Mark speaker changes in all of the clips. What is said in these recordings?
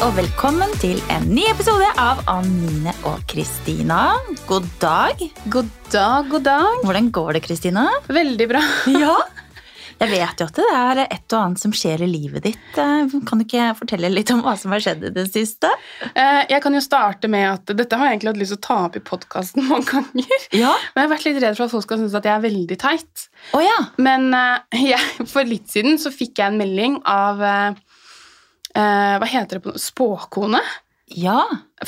Speaker 1: og velkommen til en ny episode av Anine og Kristina. God dag.
Speaker 2: God dag, god dag.
Speaker 1: Hvordan går det, Kristina?
Speaker 2: Veldig bra.
Speaker 1: Ja. Jeg vet jo at det er et og annet som skjer i livet ditt. Eh, Kan du ikke fortelle litt om hva som har skjedd i det siste?
Speaker 2: Eh, Jeg kan jo starte med at dette har jeg egentlig hatt lyst til å ta opp i podkasten mange ganger.
Speaker 1: Ja.
Speaker 2: Men jeg har vært litt redd for at folk skal synes at jeg er veldig teit.
Speaker 1: Å ja.
Speaker 2: Men eh, jeg, for litt siden så fikk jeg en melding av eh, eh, Hva heter det på no- Spåkone
Speaker 1: Ja.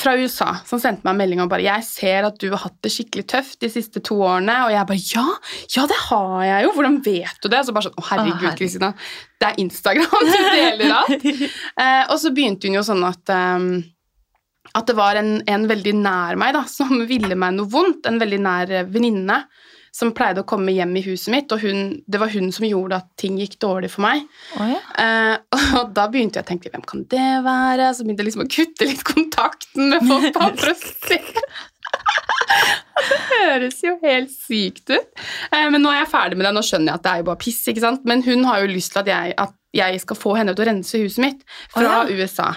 Speaker 2: fra USA som sendte meg en melding om bare Jeg ser at du har hatt det skikkelig tøft de siste to årene. Og jeg bare Ja, ja det har jeg jo! Hvordan vet du det? Og så bare sånn Å,
Speaker 1: Å,
Speaker 2: herregud,
Speaker 1: herregud.
Speaker 2: Kristina. Det er Instagram du deler alt. Eh, og så begynte hun jo sånn at ehm, at det var en, en veldig nær meg da, som ville meg noe vondt, en veldig nær eh, venninne, som pleide å komme hjem i huset mitt, og hun, det var hun som gjorde at ting gikk dårlig for meg.
Speaker 1: Å ja.
Speaker 2: Eh, og da begynte jeg å tenke, hvem kan det være? Så begynte jeg liksom å kutte litt kontakten med folk bare for å se. Det høres jo helt sykt ut. Eh, men nå er jeg ferdig med det, nå skjønner jeg at det er jo bare piss, ikke sant? Men hun har jo lyst til at jeg, at jeg skal få henne til å rense huset mitt fra
Speaker 1: Å
Speaker 2: USA.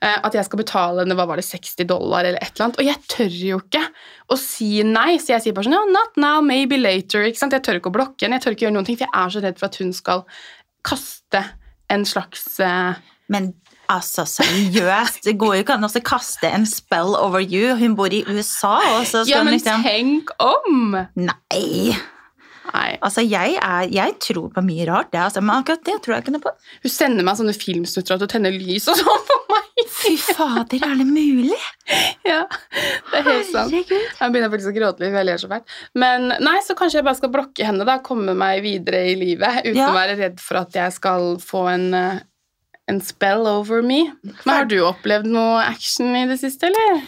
Speaker 2: Eh, at jeg skal betale henne, hva var det, 60 dollar eller et eller annet. Og jeg tør jo ikke å si nei, så jeg sier bare sånn, no, not now, maybe later, ikke sant? Jeg tør ikke å blokke henne, jeg tør ikke gjøre noen ting, for jeg er så redd for at hun skal kaste en slags eh,
Speaker 1: Men altså, seriøst. Det går jo ikke an å kaste en spell over you. Hun bor i USA, og så skal
Speaker 2: Ja,
Speaker 1: hun
Speaker 2: men
Speaker 1: liksom
Speaker 2: tenk om!
Speaker 1: Nei.
Speaker 2: Nei.
Speaker 1: Altså, jeg, er, jeg tror på mye rart, det, altså, men akkurat det tror jeg ikke noe på.
Speaker 2: Hun sender meg sånne filmsnutter at hun tenner lys og sånn på meg.
Speaker 1: Fy fader, er det mulig?
Speaker 2: Ja, det er helt sant.
Speaker 1: Herregud.
Speaker 2: Jeg begynner faktisk å gråte litt, for jeg ler så fælt. Men nei, så kanskje jeg bare skal blokke henne, da. Komme meg videre i livet uten
Speaker 1: Ja.
Speaker 2: å være redd for at jeg skal få en eh, en spell over me. Men Har du opplevd noe action i det siste, eller?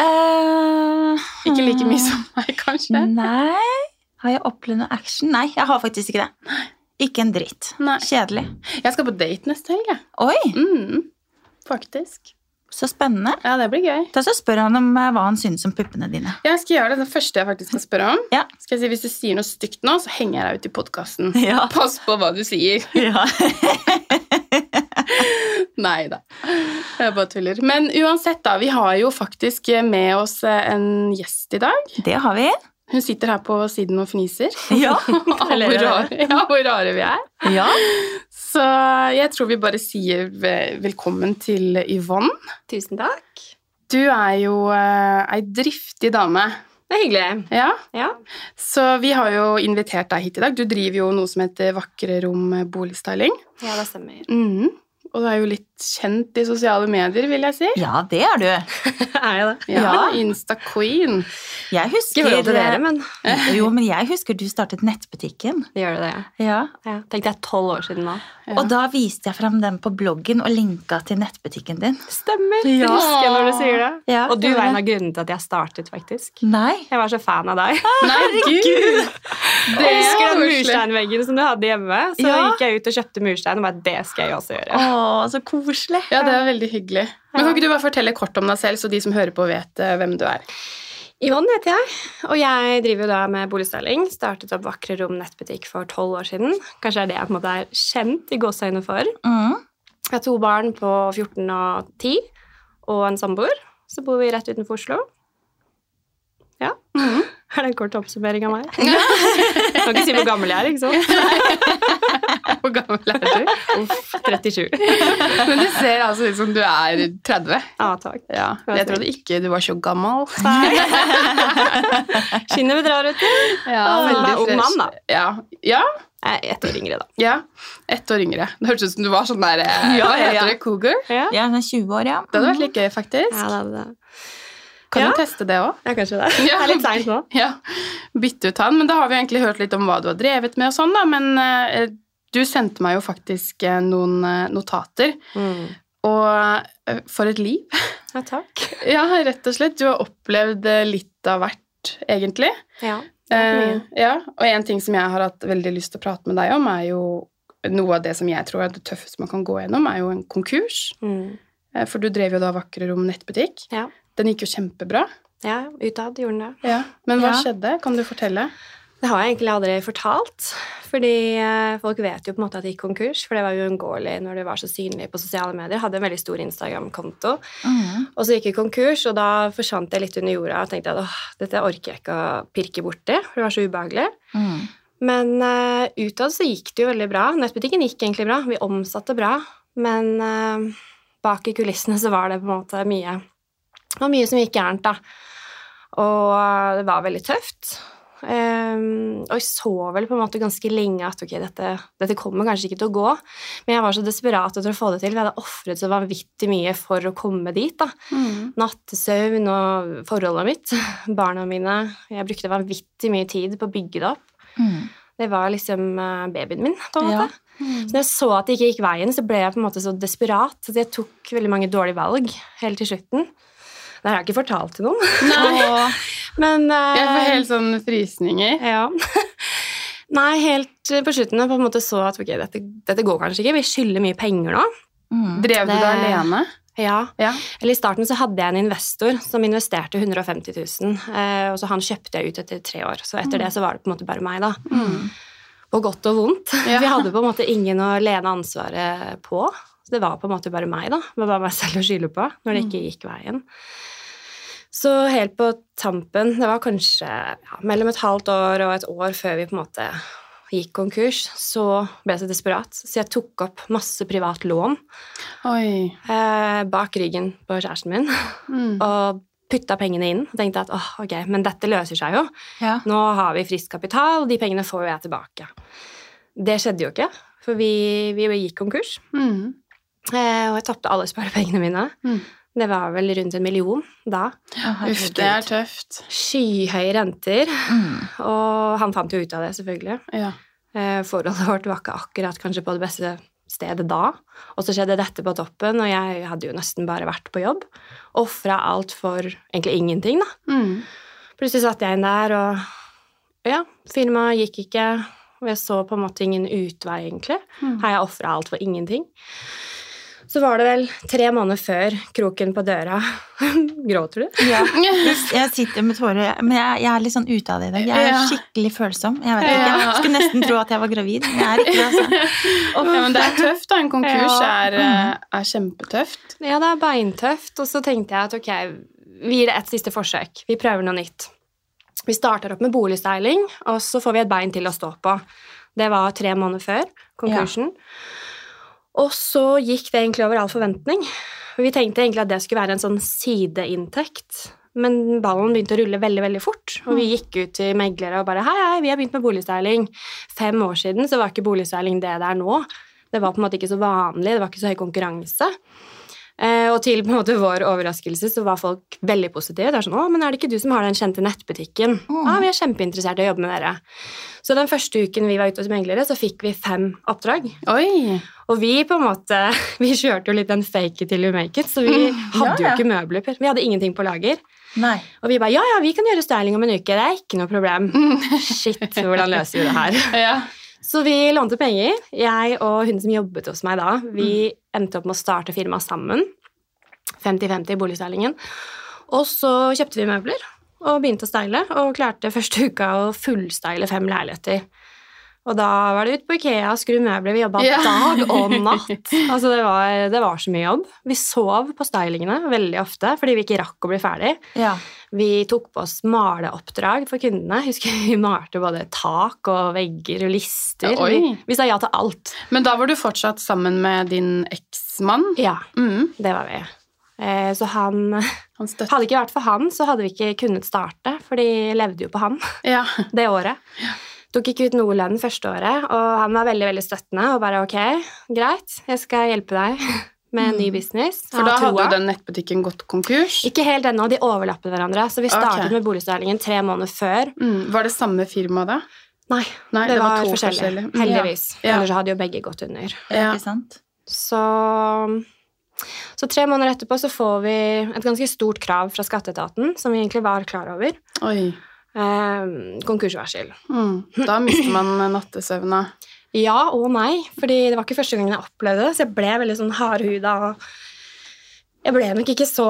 Speaker 1: Eh,
Speaker 2: Ikke like mye som meg, kanskje?
Speaker 1: Nei. Har jeg opplevd noe action? Nei, jeg har faktisk ikke det. Ikke en dritt.
Speaker 2: Nei.
Speaker 1: Kjedelig.
Speaker 2: Jeg skal på date neste helg, jeg.
Speaker 1: Oi,
Speaker 2: Mm, faktisk.
Speaker 1: så spennende.
Speaker 2: Ja, det blir gøy.
Speaker 1: Da så spør han om eh, hva han synes om puppene dine.
Speaker 2: Jeg skal gjøre det, det første jeg faktisk skal spørre om.
Speaker 1: Ja.
Speaker 2: Skal jeg si, Hvis du sier noe stygt nå, så henger jeg deg ut i podkasten.
Speaker 1: Ja.
Speaker 2: Pass på hva du sier. Nei da. Jeg bare tuller. Men uansett, da. Vi har jo faktisk med oss eh, en gjest i dag.
Speaker 1: Det har vi.
Speaker 2: Hun sitter her på siden og fniser.
Speaker 1: Ja.
Speaker 2: Av hvor rare, ja, hvor rare vi er.
Speaker 1: eh, ja.
Speaker 2: Så jeg tror vi bare sier ve- velkommen til Yvonne.
Speaker 3: Tusen takk.
Speaker 2: Du er jo eh, ei driftig dame.
Speaker 3: Det er hyggelig.
Speaker 2: Ja.
Speaker 3: Ja.
Speaker 2: Så vi har jo invitert deg hit i dag. Du driver jo noe som heter Vakre rom boligstyling.
Speaker 3: ja, det stemmer.
Speaker 2: Mhm. Og du er jo litt kjent i sosiale medier, vil jeg si.
Speaker 1: ja, det er du.
Speaker 3: er jeg det?
Speaker 2: Ja,
Speaker 1: Ja.
Speaker 2: Insta-queen.
Speaker 1: Jeg
Speaker 3: Ikke i
Speaker 1: husker eh,
Speaker 3: forhold til dere, men
Speaker 1: Jo, men jeg husker du startet nettbutikken.
Speaker 3: det gjør det, det.
Speaker 1: Ja.
Speaker 3: Ja. Tenk det er tolv år siden nå.
Speaker 2: Ja.
Speaker 1: Og da viste jeg fram den på bloggen og linka til nettbutikken din.
Speaker 3: Stemmer.
Speaker 1: Ja.
Speaker 3: Jeg husker når du sier det.
Speaker 1: Ja,
Speaker 3: Og du
Speaker 1: det
Speaker 3: var
Speaker 1: var
Speaker 3: en
Speaker 1: det.
Speaker 3: av grunnene til at jeg startet, faktisk.
Speaker 1: Nei.
Speaker 3: Jeg var så fan av deg.
Speaker 2: Nei, gud! Det
Speaker 3: Jeg
Speaker 2: er
Speaker 3: husker den
Speaker 2: koselig.
Speaker 3: mursteinveggen som du hadde hjemme. Så
Speaker 1: Ja.
Speaker 3: gikk jeg ut og kjøpte murstein og bare det skal jeg også gjøre.
Speaker 1: Å, så koselig.
Speaker 2: Ja, det er veldig hyggelig. Men Kan ikke du bare fortelle kort om deg selv, så de som hører på, vet eh, hvem du er?
Speaker 3: Yvonne heter jeg, og jeg driver jo da med boligstyling. Startet opp Vakre rom nettbutikk for tolv år siden. Kanskje det er det jeg på en måte er kjent i gåseøynene for.
Speaker 1: Mm.
Speaker 3: Jeg har to barn på 14 og 10, og en samboer. Så bor vi rett utenfor Oslo. Ja. Er det en kort oppsummering av meg? Jeg kan ikke si hvor gammel jeg er, ikke sant?
Speaker 2: Hvor gammel er du?
Speaker 3: Uff, 37.
Speaker 2: Men det ser altså ut som du er 30.
Speaker 3: Ja, takk.
Speaker 2: Ja, jeg trodde ikke du var så gammel.
Speaker 3: Skinnet bedrar, vet du.
Speaker 2: Ja,
Speaker 3: Åh,
Speaker 2: veldig
Speaker 3: ung
Speaker 2: fresh.
Speaker 3: mann, da.
Speaker 2: Ja, ja,
Speaker 3: Jeg er ett år yngre, da.
Speaker 2: ja. Ett år yngre. Det hørtes ut som du var sånn der eh,
Speaker 1: Ja,
Speaker 2: Hva
Speaker 1: ja.
Speaker 2: heter det? Cougar?
Speaker 3: Ja,
Speaker 1: Jeg er sånn 20 år, ja.
Speaker 2: Det hadde vært litt gøy, faktisk.
Speaker 3: ja det er det.
Speaker 2: Kan
Speaker 3: Ja.
Speaker 2: du teste det òg?
Speaker 3: Ja, kanskje det. Det er litt seint nå.
Speaker 2: Ja. Bytte ut han. Men da har vi egentlig hørt litt om hva du har drevet med og sånn, da. Men eh, du sendte meg jo faktisk eh, noen eh, notater.
Speaker 3: Mm.
Speaker 2: Og eh, for et liv.
Speaker 3: Ja, takk.
Speaker 2: Ja, rett og slett. Du har opplevd eh, litt av hvert, egentlig.
Speaker 3: Ja.
Speaker 2: Eh,
Speaker 3: mye.
Speaker 2: ja, og en ting som jeg har hatt veldig lyst til å prate med deg om, er jo noe av det som jeg tror er det tøffeste man kan gå gjennom, er jo en konkurs.
Speaker 3: Mm.
Speaker 2: Eh, For du drev jo da Vakre Rom nettbutikk.
Speaker 3: Ja.
Speaker 2: Den gikk jo kjempebra.
Speaker 3: ja, utad gjorde den det.
Speaker 2: Men hva
Speaker 1: Ja.
Speaker 2: skjedde? Kan du fortelle?
Speaker 3: Det har jeg egentlig aldri fortalt. Fordi eh, folk vet jo på en måte at jeg gikk konkurs, for det var uunngåelig når du var så synlig på sosiale medier. Hadde en veldig stor Instagram-konto.
Speaker 1: Mm.
Speaker 3: Og så gikk jeg konkurs, og da forsvant jeg litt under jorda og tenkte at åh, dette orker jeg ikke å pirke borti, for det var så ubehagelig.
Speaker 1: Mm.
Speaker 3: Men eh, utad så gikk det jo veldig bra. Nettbutikken gikk egentlig bra. Vi omsatte bra. Men eh, bak i kulissene så var det på en måte mye Det var mye som gikk gærent, da. Og eh, det var veldig tøft. Ehm, og jeg så vel på en måte ganske lenge at ok, dette, dette kommer kanskje ikke til å gå. Men jeg var så desperat etter å få det til. for Jeg hadde ofret så vanvittig mye for å komme dit. da
Speaker 2: Mm.
Speaker 3: nattesøvn og forholdet mitt, barna mine. Jeg brukte vanvittig mye tid på å bygge det opp.
Speaker 1: Mm.
Speaker 3: Det var liksom eh, babyen min. på en
Speaker 1: Ja.
Speaker 3: måte.
Speaker 2: Mm.
Speaker 3: Så når jeg så at det ikke gikk veien, så ble jeg på en måte så desperat at jeg tok veldig mange dårlige valg helt til slutten. Det har jeg ikke fortalt til noen,
Speaker 1: Åh.
Speaker 3: men eh,
Speaker 2: Jeg får helt sånn frysninger.
Speaker 3: ja. Nei, helt eh, på slutten jeg på en måte så at ok, dette, dette går kanskje ikke. Vi skylder mye penger nå.
Speaker 1: Mm.
Speaker 2: Drev du
Speaker 3: Det-
Speaker 2: deg alene?
Speaker 3: Ja,
Speaker 2: Ja.
Speaker 3: Eller I starten så hadde jeg en investor som investerte 150 000, eh, og så han kjøpte jeg ut etter tre år. Så etter det så var det på en måte bare meg, da.
Speaker 2: Mm.
Speaker 3: På godt og vondt.
Speaker 2: Ja.
Speaker 3: Vi hadde på en måte ingen å lene ansvaret på. Så det var på en måte bare meg, da. Det var bare meg selv å skylde på når det ikke gikk veien. Så helt på tampen, det var kanskje ja, mellom et halvt år og et år før vi på en måte gikk konkurs, så ble jeg så desperat. Så jeg tok opp masse privat lån
Speaker 2: Oi.
Speaker 3: eh, bak ryggen på kjæresten min
Speaker 2: Mm.
Speaker 3: og putta pengene inn. Og tenkte at åh, ok, men dette løser seg jo.
Speaker 1: Ja.
Speaker 3: Nå har vi frisk kapital, de pengene får jo jeg tilbake. Det skjedde jo ikke, for vi, vi gikk konkurs.
Speaker 2: Mm.
Speaker 3: eh, Og jeg tapte alle sparepengene mine.
Speaker 2: Mm.
Speaker 3: Det var vel rundt en million da.
Speaker 1: Å,
Speaker 2: Uff, det er tøft.
Speaker 3: Skyhøye renter.
Speaker 1: herregud. Mm.
Speaker 3: Og han fant jo ut av det, selvfølgelig.
Speaker 2: Ja.
Speaker 3: Eh, Forholdet vårt var ikke akkurat kanskje på det beste stedet da. Og så skjedde dette på toppen, og jeg hadde jo nesten bare vært på jobb. Ofra alt for egentlig ingenting, da.
Speaker 2: Mm.
Speaker 3: Plutselig satt jeg inn der, og ja, firmaet gikk ikke. Og jeg så på en måte ingen utvei, egentlig.
Speaker 2: Mm.
Speaker 3: Her jeg ofra alt for ingenting. Så var det vel tre måneder før kroken på døra Gråter du?
Speaker 1: Ja. Jeg sitter med tårer, men jeg, jeg er litt sånn ute av det i dag. Jeg er
Speaker 2: Ja.
Speaker 1: skikkelig følsom. Jeg, vet ikke.
Speaker 2: Ja.
Speaker 1: jeg skulle nesten tro at jeg var gravid, men jeg er ikke det. Altså.
Speaker 2: Ja, men det er tøft, da. En konkurs
Speaker 3: Ja. Mm.
Speaker 2: er, eh, er kjempetøft.
Speaker 3: Ja, det er beintøft. Og så tenkte jeg at ok, vi gir det et siste forsøk. Vi prøver noe nytt. Vi starter opp med boligstyling, og så får vi et bein til å stå på. Det var tre måneder før konkursen. Og så gikk det egentlig over all forventning. Vi tenkte egentlig at det skulle være en sånn sideinntekt, men ballen begynte å rulle veldig veldig fort. Og vi gikk ut til meglere og bare hei, hei, vi har begynt med boligstyling. Fem år siden så var ikke boligstyling det det er nå. Det var på en måte ikke så vanlig, det var ikke så høy konkurranse. Eh, og til på en måte vår overraskelse så var folk veldig positive. Det er sånn, å, men er det ikke du som har den kjente nettbutikken? Ja,
Speaker 1: Mm.
Speaker 3: vi er kjempeinteressert i å jobbe med dere. Så den første uken vi var ute hos meglere, så fikk vi fem oppdrag.
Speaker 2: Oi!
Speaker 3: Og vi på en måte, vi kjørte jo litt den fake it till you make it, så vi hadde
Speaker 1: Mm, ja.
Speaker 3: jo ikke møbler. Vi hadde ingenting på lager.
Speaker 1: Nei.
Speaker 3: Og vi bare, ja, ja, vi kan gjøre styling om en uke, det er ikke noe problem.
Speaker 1: Mm.
Speaker 3: Shit, hvordan løser vi det her?
Speaker 2: Ja.
Speaker 3: Så vi lånte penger. Jeg og hun som jobbet hos meg da, vi endte opp med å starte firma sammen. 50-50 i boligstylingen. Og så kjøpte vi møbler og begynte å style, og klarte første uka å fullstyle fem leiligheter. Og da var det ut på Ikea og skru møbler. Vi jobba
Speaker 2: Ja.
Speaker 3: dag og natt. Altså det var, det var så mye jobb. Vi sov på stylingene veldig ofte fordi vi ikke rakk å bli ferdig.
Speaker 1: Ja.
Speaker 3: Vi tok på oss maleoppdrag for kundene. Jeg Husker Vi malte både tak og vegger og lister.
Speaker 2: Ja, oi.
Speaker 3: Vi, vi sa ja til alt.
Speaker 2: Men da var du fortsatt sammen med din eksmann.
Speaker 3: Ja,
Speaker 2: Mm.
Speaker 3: det var vi. Eh, Så han
Speaker 2: Han støttet
Speaker 3: Hadde det ikke vært for han, så hadde vi ikke kunnet starte, for de levde jo på han
Speaker 2: Ja.
Speaker 3: det året. Tok ikke ut noe lønn første året, og han var veldig veldig støttende og bare ok, greit, jeg skal hjelpe deg med en ny business.
Speaker 2: Mm. For
Speaker 3: Han
Speaker 2: da
Speaker 3: har
Speaker 2: hadde
Speaker 3: troa.
Speaker 2: jo den nettbutikken gått konkurs.
Speaker 3: Ikke helt ennå, de overlappet hverandre, så vi startet
Speaker 2: Ah, Ok.
Speaker 3: med boligstylingen tre måneder før.
Speaker 2: Mm. Var det samme firma da?
Speaker 3: Nei,
Speaker 2: Nei,
Speaker 3: det, var, forskjellig.
Speaker 2: Mm.
Speaker 3: Heldigvis.
Speaker 2: Ja.
Speaker 3: Ellers hadde jo begge gått under.
Speaker 2: Ja.
Speaker 1: Ikke sant?
Speaker 3: Så, så tre måneder etterpå så får vi et ganske stort krav fra skatteetaten, som vi egentlig var klar over.
Speaker 2: Oi.
Speaker 3: Eh, konkursvarsel.
Speaker 2: Mm. Da mister man nattesøvna.
Speaker 3: Ja og nei, fordi det var ikke første gangen jeg opplevde det, så jeg ble veldig sånn hardhuda. og Jeg ble nok ikke så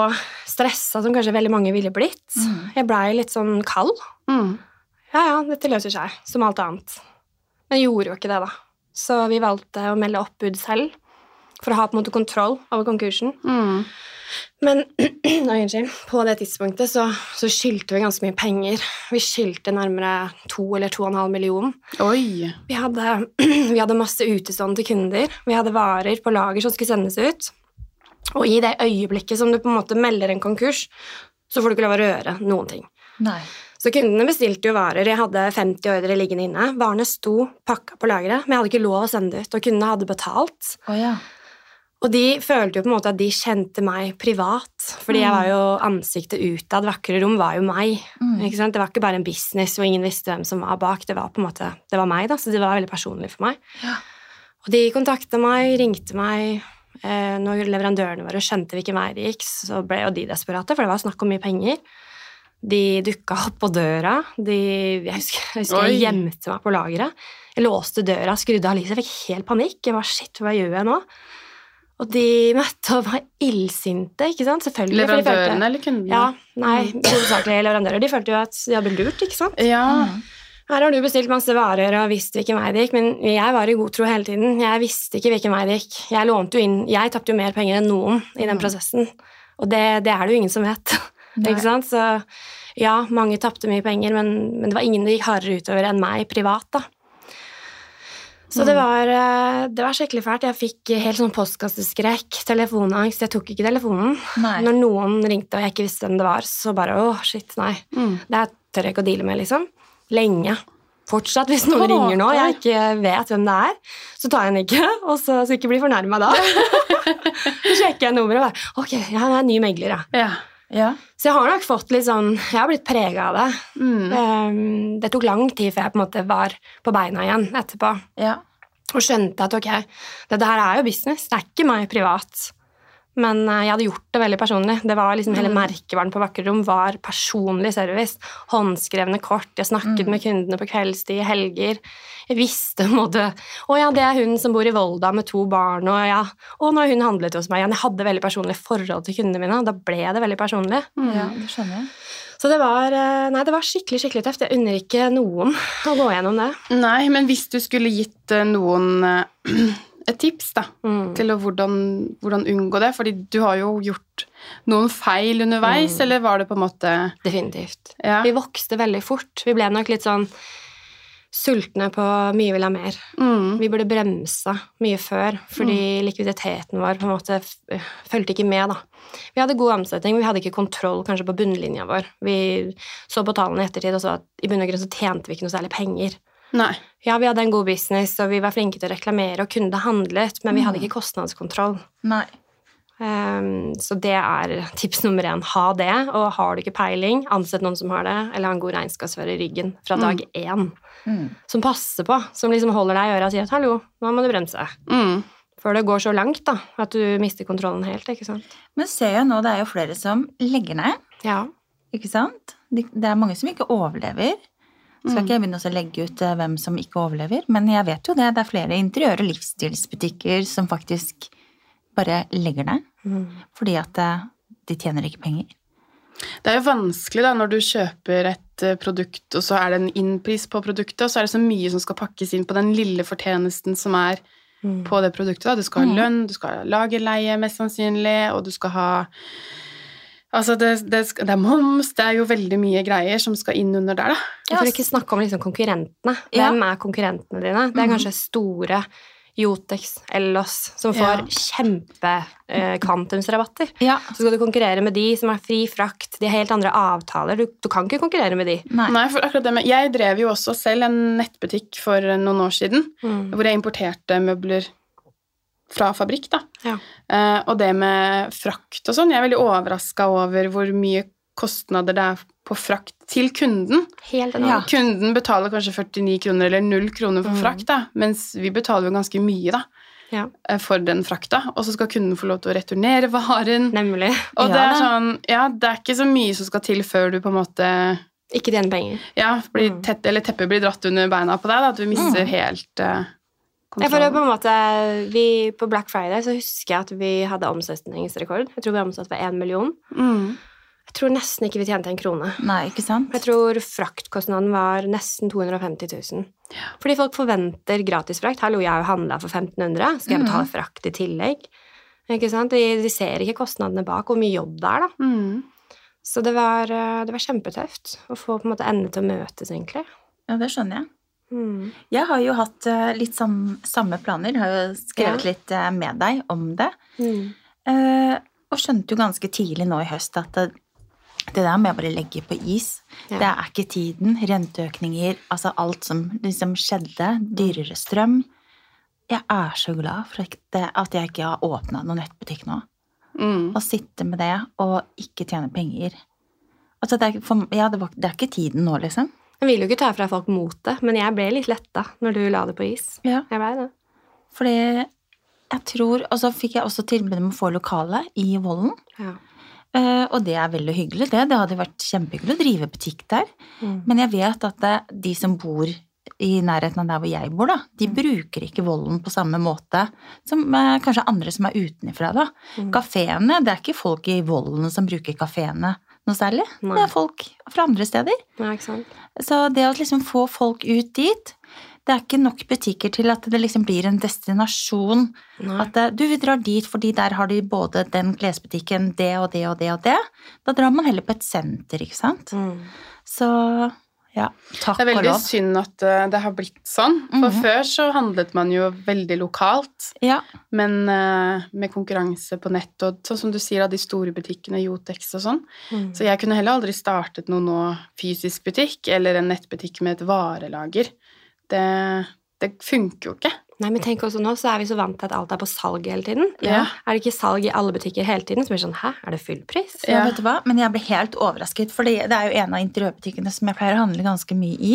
Speaker 3: stressa som kanskje veldig mange ville blitt. Jeg blei litt sånn kald.
Speaker 2: Mm.
Speaker 3: Eh, ja, ja, dette løser seg, som alt annet. Men gjorde jo ikke det, da. Så vi valgte å melde oppbud selv for å ha på en måte kontroll over konkursen.
Speaker 2: Mm.
Speaker 3: Men Oi, unnskyld. på det tidspunktet så, så skyldte vi ganske mye penger. Vi skyldte nærmere to eller to og en halv million.
Speaker 2: Oi.
Speaker 3: Vi hadde, vi hadde masse utestående kunder. Vi hadde varer på lager som skulle sendes ut. Og i det øyeblikket som du på en måte melder en konkurs, så får du ikke lov å røre noen ting.
Speaker 1: Nei.
Speaker 3: Så kundene bestilte jo varer. Jeg hadde 50 ordre liggende inne. Varene sto pakka på lageret, men jeg hadde ikke lov å sende det ut. Og kundene hadde betalt.
Speaker 1: Å ja.
Speaker 3: Og de følte jo på en måte at de kjente meg privat, fordi jeg var jo ansiktet utad. Vakre rom var jo meg.
Speaker 1: Mm.
Speaker 3: Ikke sant? Det var ikke bare en business hvor ingen visste hvem som var bak. Det var på en måte, det var meg, da, så det var veldig personlig for meg.
Speaker 1: Ja.
Speaker 3: Og de kontakta meg, ringte meg. Eh, når leverandørene våre skjønte hvilken vei det gikk, så ble jo de desperate, for det var snakk om mye penger. De dukka opp på døra. De, jeg husker, jeg, husker jeg
Speaker 2: Oi.
Speaker 3: gjemte meg på lageret. Jeg låste døra, skrudde av lyset. Jeg fikk helt panikk. Jeg var, Shit, hva gjør jeg nå? Og de møtte og var illsinte, ikke sant? Selvfølgelig. for de følte-
Speaker 2: Leverandørene eller kundene?
Speaker 3: Ja, nei, hovedsakelig leverandører. De følte jo at de hadde blitt lurt, ikke sant?
Speaker 2: Ja.
Speaker 1: Mm.
Speaker 3: Her har du bestilt masse varer og visste hvilken vei det gikk, men jeg var i god tro hele tiden. Jeg visste ikke hvilken vei det gikk. Jeg lånte jo inn, jeg tapte jo mer penger enn noen i den prosessen, og det, det er det jo ingen som vet.
Speaker 1: Nei.
Speaker 3: Ikke sant? Så ja, mange tapte mye penger, men, men det var ingen det gikk hardere utover enn meg privat, da. Så det var, eh, det var skikkelig fælt. Jeg fikk helt sånn postkasseskrekk, telefonangst. Jeg tok ikke telefonen.
Speaker 1: Nei.
Speaker 3: Når noen ringte og jeg ikke visste hvem det var, så bare åh, shit, nei.
Speaker 2: Mm.
Speaker 3: Det her tør jeg ikke å deale med, liksom. Lenge. Fortsatt, hvis noen
Speaker 2: Åh,
Speaker 3: ringer nå og jeg
Speaker 2: nei.
Speaker 3: ikke vet hvem det er, så tar jeg den ikke, og så skal jeg ikke bli fornærma da. så sjekker jeg nummeret og bare Ok, ja, det er en ny megler, ja.
Speaker 2: Ja.
Speaker 1: Ja.
Speaker 3: Så jeg har nok fått litt sånn Jeg har blitt prega av det.
Speaker 2: Mm.
Speaker 3: Um, det tok lang tid før jeg på en måte var på beina igjen etterpå
Speaker 1: Ja.
Speaker 3: og skjønte at ok, dette her er jo business, det er ikke meg privat. Men eh, jeg hadde gjort det veldig personlig. Det var liksom Hele merkevaren på Vakkerrom var personlig service. Håndskrevne kort, jeg snakket med kundene på kveldstid, helger. Jeg visste på en måte Å ja, det er hun som bor i Volda med to barn, og ja Å, nå har hun handlet hos meg igjen. Jeg hadde veldig personlig forhold til kundene mine, og da ble det veldig personlig.
Speaker 2: Mm.
Speaker 1: ja, det skjønner jeg.
Speaker 3: Så det var eh, Nei, det var skikkelig, skikkelig tøft. Jeg unner ikke noen å gå gjennom det.
Speaker 2: Nei, men hvis du skulle gitt eh, noen eh, et tips da,
Speaker 3: Mm.
Speaker 2: til å hvordan, hvordan unngå det, fordi du har jo gjort noen feil underveis, eller var det på en måte
Speaker 3: Definitivt.
Speaker 2: ja.
Speaker 3: Mm. Vi vokste veldig fort. Vi ble nok litt sånn sultne på mye vil ha mer.
Speaker 2: Mm.
Speaker 3: Vi burde bremsa mye før, fordi likviditeten vår på en måte f- øh, fulgte ikke med. da. Vi hadde god omsetning, men vi hadde ikke kontroll kanskje på bunnlinja vår. Vi så på tallene i ettertid og så at i bunn og grunn så tjente vi ikke noe særlig penger.
Speaker 2: Nei.
Speaker 3: Ja, vi hadde en god business, og vi var flinke til å reklamere, og kundene handlet, men vi hadde ikke kostnadskontroll.
Speaker 1: Nei.
Speaker 3: Ehm, så det er tips nummer én. Ha det. Og har du ikke peiling, ansett noen som har det, eller ha en god regnskapsfører i ryggen fra dag én.
Speaker 1: Mm.
Speaker 3: Som passer på, som liksom holder deg i øra og sier at 'hallo, nå må du bremse'.
Speaker 2: Mm.
Speaker 3: Før det går så langt da, at du mister kontrollen helt. ikke sant?
Speaker 1: Men ser jeg nå, det er jo flere som legger ned,
Speaker 3: Ja.
Speaker 1: ikke sant? De- Det er mange som ikke overlever. Skal ikke jeg begynne også å legge ut eh, hvem som ikke overlever, men jeg vet jo det. Det er flere interiør- og livsstilsbutikker som faktisk bare legger ned.
Speaker 3: Mm,
Speaker 1: Fordi at eh, de tjener ikke penger.
Speaker 2: Det er jo vanskelig da, når du kjøper et eh, produkt, og så er det en innpris på produktet, og så er det så mye som skal pakkes inn på den lille fortjenesten som er
Speaker 3: Mm.
Speaker 2: på det produktet. Da. Du skal
Speaker 1: Mm.
Speaker 2: ha lønn, du skal ha lagerleie mest sannsynlig, og du skal ha Altså, det, det, skal, det er moms, det er jo veldig mye greier som skal inn under der, da.
Speaker 3: Og For å ikke snakke om liksom konkurrentene.
Speaker 1: Ja.
Speaker 3: Hvem er konkurrentene dine? Det er kanskje store Jotex, Ellos, som
Speaker 2: Ja.
Speaker 3: får eh, kjempekvantumsrabatter.
Speaker 1: Ja.
Speaker 3: Så skal du konkurrere med de som har fri frakt, de har helt andre avtaler. Du, du kan ikke konkurrere med de.
Speaker 1: Nei.
Speaker 2: Nei, for akkurat det med Jeg drev jo også selv en nettbutikk for noen år siden,
Speaker 3: Mm.
Speaker 1: Mm.
Speaker 2: hvor jeg importerte møbler fra fabrikk, da.
Speaker 3: Ja.
Speaker 2: Eh, og det med frakt og sånn, jeg er veldig overraska over hvor mye kostnader det er på frakt til kunden.
Speaker 3: Helt
Speaker 1: Ja.
Speaker 3: enormt.
Speaker 2: Kunden betaler kanskje 49 kroner eller 0 kroner for
Speaker 3: Mm.
Speaker 2: frakt, da, mens vi betaler jo ganske mye da,
Speaker 3: Ja.
Speaker 2: eh, for den frakta. Og så skal kunden få lov til å returnere varen.
Speaker 3: Nemlig.
Speaker 2: Og det
Speaker 1: Ja,
Speaker 2: er
Speaker 1: da.
Speaker 2: sånn, ja, det er ikke så mye som skal til før du på en måte
Speaker 3: Ikke tjene penger.
Speaker 2: ja, blir
Speaker 3: Mm.
Speaker 2: tett, eller teppet blir dratt under beina på deg, da, at du mister
Speaker 1: Mm.
Speaker 2: helt eh,
Speaker 3: Jeg føler på
Speaker 2: kontrollen.
Speaker 3: en måte, vi, på Black Friday så husker jeg at vi hadde omsetningsrekord. Jeg tror vi omsatte for én million.
Speaker 2: Mm.
Speaker 3: Jeg tror nesten ikke vi tjente en krone.
Speaker 1: Nei, ikke sant?
Speaker 3: Jeg tror fraktkostnaden var nesten 250 000. Fordi folk forventer gratis frakt. Hallo, jeg har jo handla for 1500. Skal jeg
Speaker 1: Mm.
Speaker 3: betale frakt i tillegg? Ikke sant? De, de ser ikke kostnadene bak, hvor mye jobb det er, da.
Speaker 2: Mm.
Speaker 3: Så det var, eh, det var kjempetøft å få på en måte endene til å møtes, egentlig.
Speaker 1: Ja, det skjønner jeg.
Speaker 3: Mm.
Speaker 1: Jeg har jo hatt eh, litt sam, samme planer. Jeg har jo skrevet
Speaker 3: Ja.
Speaker 1: litt eh, med deg om det. Eh, og skjønte jo ganske tidlig nå i høst at det, det der må jeg bare legge på is.
Speaker 3: Ja.
Speaker 1: Det er ikke tiden. Renteøkninger, altså alt som liksom skjedde. Dyrere strøm. Jeg er så glad for at det- at jeg ikke har åpna noen nettbutikk nå.
Speaker 2: Mm.
Speaker 1: Å sitte med det og ikke tjene penger. Altså, det er, ikke- for, ja, det, var, det er ikke tiden nå, liksom.
Speaker 3: Jeg vil jo ikke ta fra folk motet, men jeg ble litt letta når du la det på is.
Speaker 1: Ja.
Speaker 3: Jeg ble det.
Speaker 1: Fordi jeg tror Og så fikk jeg også tilbud om å få lokale i Vollen.
Speaker 3: Ja.
Speaker 1: Eh, Og det er veldig hyggelig, det. Det hadde vært kjempehyggelig å drive butikk der.
Speaker 3: Mm.
Speaker 1: Men jeg vet at det, de som bor i nærheten av der hvor jeg bor, da, de bruker ikke Vollen på samme måte som eh, kanskje andre som er utenfra. da.
Speaker 3: Mm.
Speaker 1: Kafeene, det er ikke folk i Vollen som bruker kafeene noe særlig.
Speaker 3: Nei.
Speaker 1: Det er folk fra andre steder.
Speaker 3: Ja, ikke sant?
Speaker 1: Så det å liksom få folk ut dit Det er ikke nok butikker til at det liksom blir en destinasjon.
Speaker 3: Nei.
Speaker 1: At eh, du, vi drar dit fordi der har de både den klesbutikken, det og det og det og det. Da drar man heller på et senter, ikke sant.
Speaker 3: Mm.
Speaker 1: Så ja, takk
Speaker 2: Det er
Speaker 1: og
Speaker 2: veldig
Speaker 1: lov.
Speaker 2: synd at eh, det har blitt sånn. For
Speaker 1: Mhm.
Speaker 2: før så handlet man jo veldig lokalt,
Speaker 1: Ja,
Speaker 2: men eh, med konkurranse på nett og sånn som du sier av de store butikkene, Jotex og sånn.
Speaker 3: Mm.
Speaker 2: Så jeg kunne heller aldri startet noen nå fysisk butikk eller en nettbutikk med et varelager. Det, det funker jo ikke.
Speaker 3: Nei, men tenk også nå, så er vi så vant til at alt er på salg hele tiden.
Speaker 2: Ja.
Speaker 3: Er det ikke salg i alle butikker hele tiden? Så blir det sånn, hæ, er det full pris?
Speaker 1: ja,
Speaker 2: Ja.
Speaker 1: vet du hva? Men jeg ble helt overrasket, for det er jo en av interiørbutikkene som jeg pleier å handle ganske mye i.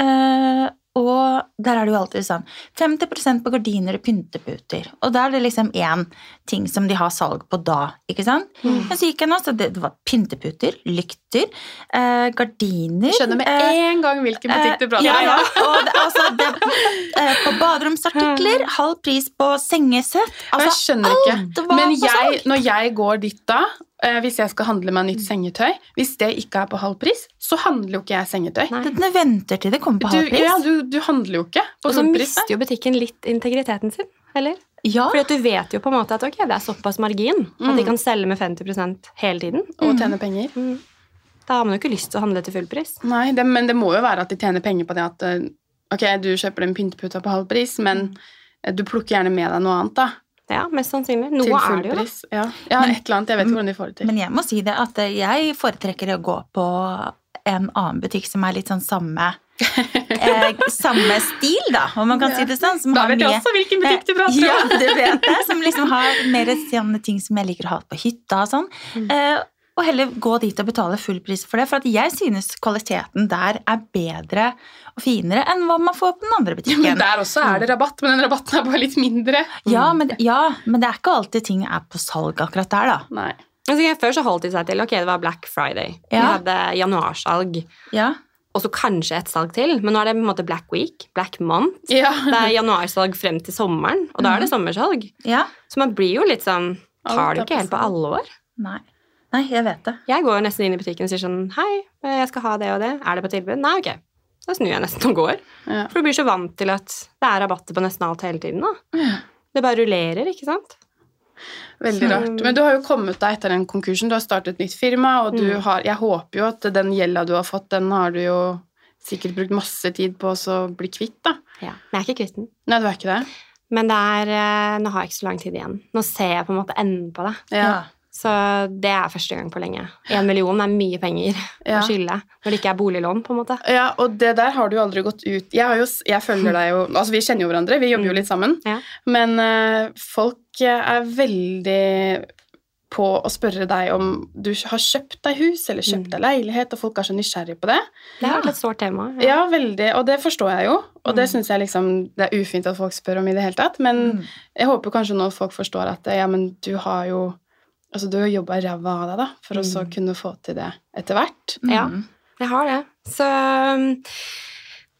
Speaker 1: Eh, og der er det jo alltid sånn 50 på gardiner og pynteputer. Og da er det liksom én ting som de har salg på da, ikke sant?
Speaker 2: Mm.
Speaker 1: Men så gikk jeg nå, så det, det var pynteputer, lykter, eh, gardiner
Speaker 2: Jeg skjønner med
Speaker 1: eh,
Speaker 2: en gang hvilken butikk du
Speaker 1: eh,
Speaker 2: prater
Speaker 1: ja, ja.
Speaker 2: om.
Speaker 1: Og det, altså, det, eh, på baderomsartikler, halv pris på sengesett.
Speaker 2: Og jeg
Speaker 1: Altså,
Speaker 2: skjønner
Speaker 1: alt
Speaker 2: ikke.
Speaker 1: var
Speaker 2: Men
Speaker 1: på
Speaker 2: jeg,
Speaker 1: salg. Mm.
Speaker 2: når jeg går dit da, eh, hvis jeg skal handle meg nytt sengetøy, hvis det ikke er på halv pris, så handler jo ikke jeg sengetøy.
Speaker 3: Nei.
Speaker 1: Denne venter til det kommer på
Speaker 2: Du,
Speaker 1: halv pris.
Speaker 2: ja, du, du handler jo ikke på
Speaker 3: Og så
Speaker 2: halv pris.
Speaker 3: mister jo butikken litt integriteten sin, eller?
Speaker 1: Ja.
Speaker 3: Fordi at du vet jo på en måte at ok, det er såpass margin at
Speaker 1: Mm.
Speaker 3: de kan selge med 50 hele tiden.
Speaker 2: Og tjener penger.
Speaker 3: Da har man jo ikke lyst til å handle til full pris.
Speaker 2: Nei, det, men det må jo være at de tjener penger på det at eh, Ok, du kjøper den pynteputa på halv pris, men eh,
Speaker 1: Mm.
Speaker 2: du plukker gjerne med deg noe annet, da.
Speaker 3: Ja, mest sannsynlig. Noe
Speaker 2: Til
Speaker 3: er
Speaker 2: full
Speaker 3: det jo, da.
Speaker 2: pris. Ja, ja
Speaker 1: Men-
Speaker 2: et eller annet. Jeg vet ikke hvordan de får det til.
Speaker 1: Men jeg må si det at eh, jeg foretrekker å gå på en annen butikk som er litt sånn samme eh, Samme stil, da, om man kan si det sånn. Som
Speaker 2: Da
Speaker 1: har
Speaker 2: vet jeg
Speaker 1: mye-
Speaker 2: også hvilken butikk du prater om.
Speaker 1: ja, du vet det. Som liksom har mer sånne ting som jeg liker å ha på hytta og sånn.
Speaker 2: Mm.
Speaker 1: Eh, og heller gå dit og betale full pris for det. For at jeg synes kvaliteten der er bedre og finere enn hva man får på den andre butikken.
Speaker 2: Men der også er det rabatt, men den rabatten er bare litt mindre.
Speaker 1: ja, men, ja, men det er ikke alltid ting er på salg akkurat der, da.
Speaker 2: Nei.
Speaker 3: Altså, jeg- før så holdt de seg til ok, det var Black Friday. Vi
Speaker 1: Ja.
Speaker 3: hadde januarsalg.
Speaker 1: Ja,
Speaker 3: Og så kanskje et salg til, men nå er det på en måte Black Week, Black Month.
Speaker 2: Ja.
Speaker 3: Det er januarsalg frem til sommeren, og da er det sommersalg.
Speaker 1: ja.
Speaker 3: Så man blir jo litt sånn
Speaker 2: Alt
Speaker 3: Tar
Speaker 2: Mhm.
Speaker 3: det
Speaker 2: er
Speaker 3: ikke helt på
Speaker 2: på salg.
Speaker 3: alvor?
Speaker 1: Nei. Nei, jeg vet det.
Speaker 3: Jeg går jo nesten inn i butikken og sier sånn Hei, jeg skal ha det og det. Er det på tilbud? Nei, ok. Da snur jeg nesten og går.
Speaker 2: Ja.
Speaker 3: For du blir så vant til at det er rabatter på nesten alt hele tiden. da. Det bare rullerer, ikke sant?
Speaker 2: Veldig rart. Men du har jo kommet deg etter den konkursen. Du har startet et nytt firma, og du har, jeg håper jo at den gjelda du har fått, den har du jo sikkert brukt masse tid på å så bli kvitt, da.
Speaker 3: Ja. Men jeg er ikke kvitt den.
Speaker 2: Nei, du er ikke det?
Speaker 3: Men det er, eh, nå har jeg ikke så lang tid igjen. Nå ser jeg på en måte enden på det.
Speaker 2: Ja.
Speaker 3: Så det er første gang på lenge. Én million er mye penger
Speaker 2: Ja.
Speaker 3: å skylde når det ikke er boliglån, på en måte.
Speaker 2: Ja, og det der har du jo aldri gått ut Jeg, har jo, s- jeg følger deg jo Altså, vi kjenner jo hverandre, vi jobber jo litt sammen.
Speaker 3: Ja.
Speaker 2: Men eh, folk eh, er veldig på å spørre deg om du har kjøpt deg hus eller kjøpt deg leilighet, og folk er så nysgjerrige på det.
Speaker 3: Det har vært et sårt tema.
Speaker 2: Ja, veldig, og det forstår jeg jo, og det syns jeg liksom det er ufint at folk spør om i det hele tatt, men
Speaker 1: Mm.
Speaker 3: Mm.
Speaker 2: jeg håper kanskje nå folk forstår at eh, ja, men du har jo Altså, du har jobba ræva av deg, da, for å så
Speaker 1: Mm.
Speaker 2: kunne få til det etter hvert.
Speaker 3: Ja, jeg har det. Så um,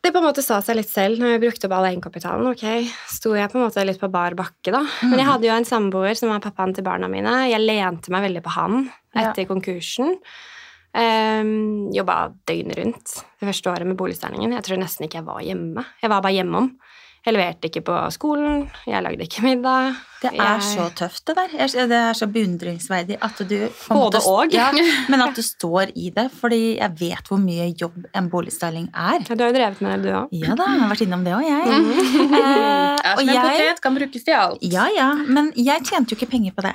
Speaker 3: det på en måte sa seg litt selv når jeg brukte opp all egenkapitalen. ok, Sto jeg på en måte litt på bar bakke, da. Men jeg hadde jo en samboer som var pappaen til barna mine. Jeg lente meg veldig på han etter konkursen. Um, Jobba døgnet rundt det første året med boligsterningen. Jeg tror nesten ikke jeg var hjemme. Jeg var bare hjemom. Jeg leverte ikke på skolen, jeg lagde ikke middag.
Speaker 1: Det er
Speaker 3: Jeg-
Speaker 1: så tøft, det der. Jeg- Det er så beundringsverdig at du på en
Speaker 3: Både
Speaker 1: måte-
Speaker 3: og.
Speaker 1: Ja, men at du står i det. Fordi jeg vet hvor mye jobb en boligstyling er.
Speaker 3: Ja, du har jo drevet med det, du òg.
Speaker 1: Ja da, jeg har vært innom det òg,
Speaker 3: Mm.
Speaker 1: jeg. Eh,
Speaker 2: Mhm. Er
Speaker 1: og
Speaker 2: som en
Speaker 1: jeg
Speaker 2: potet, kan brukes til alt.
Speaker 1: ja, ja, men jeg tjente jo ikke penger på det.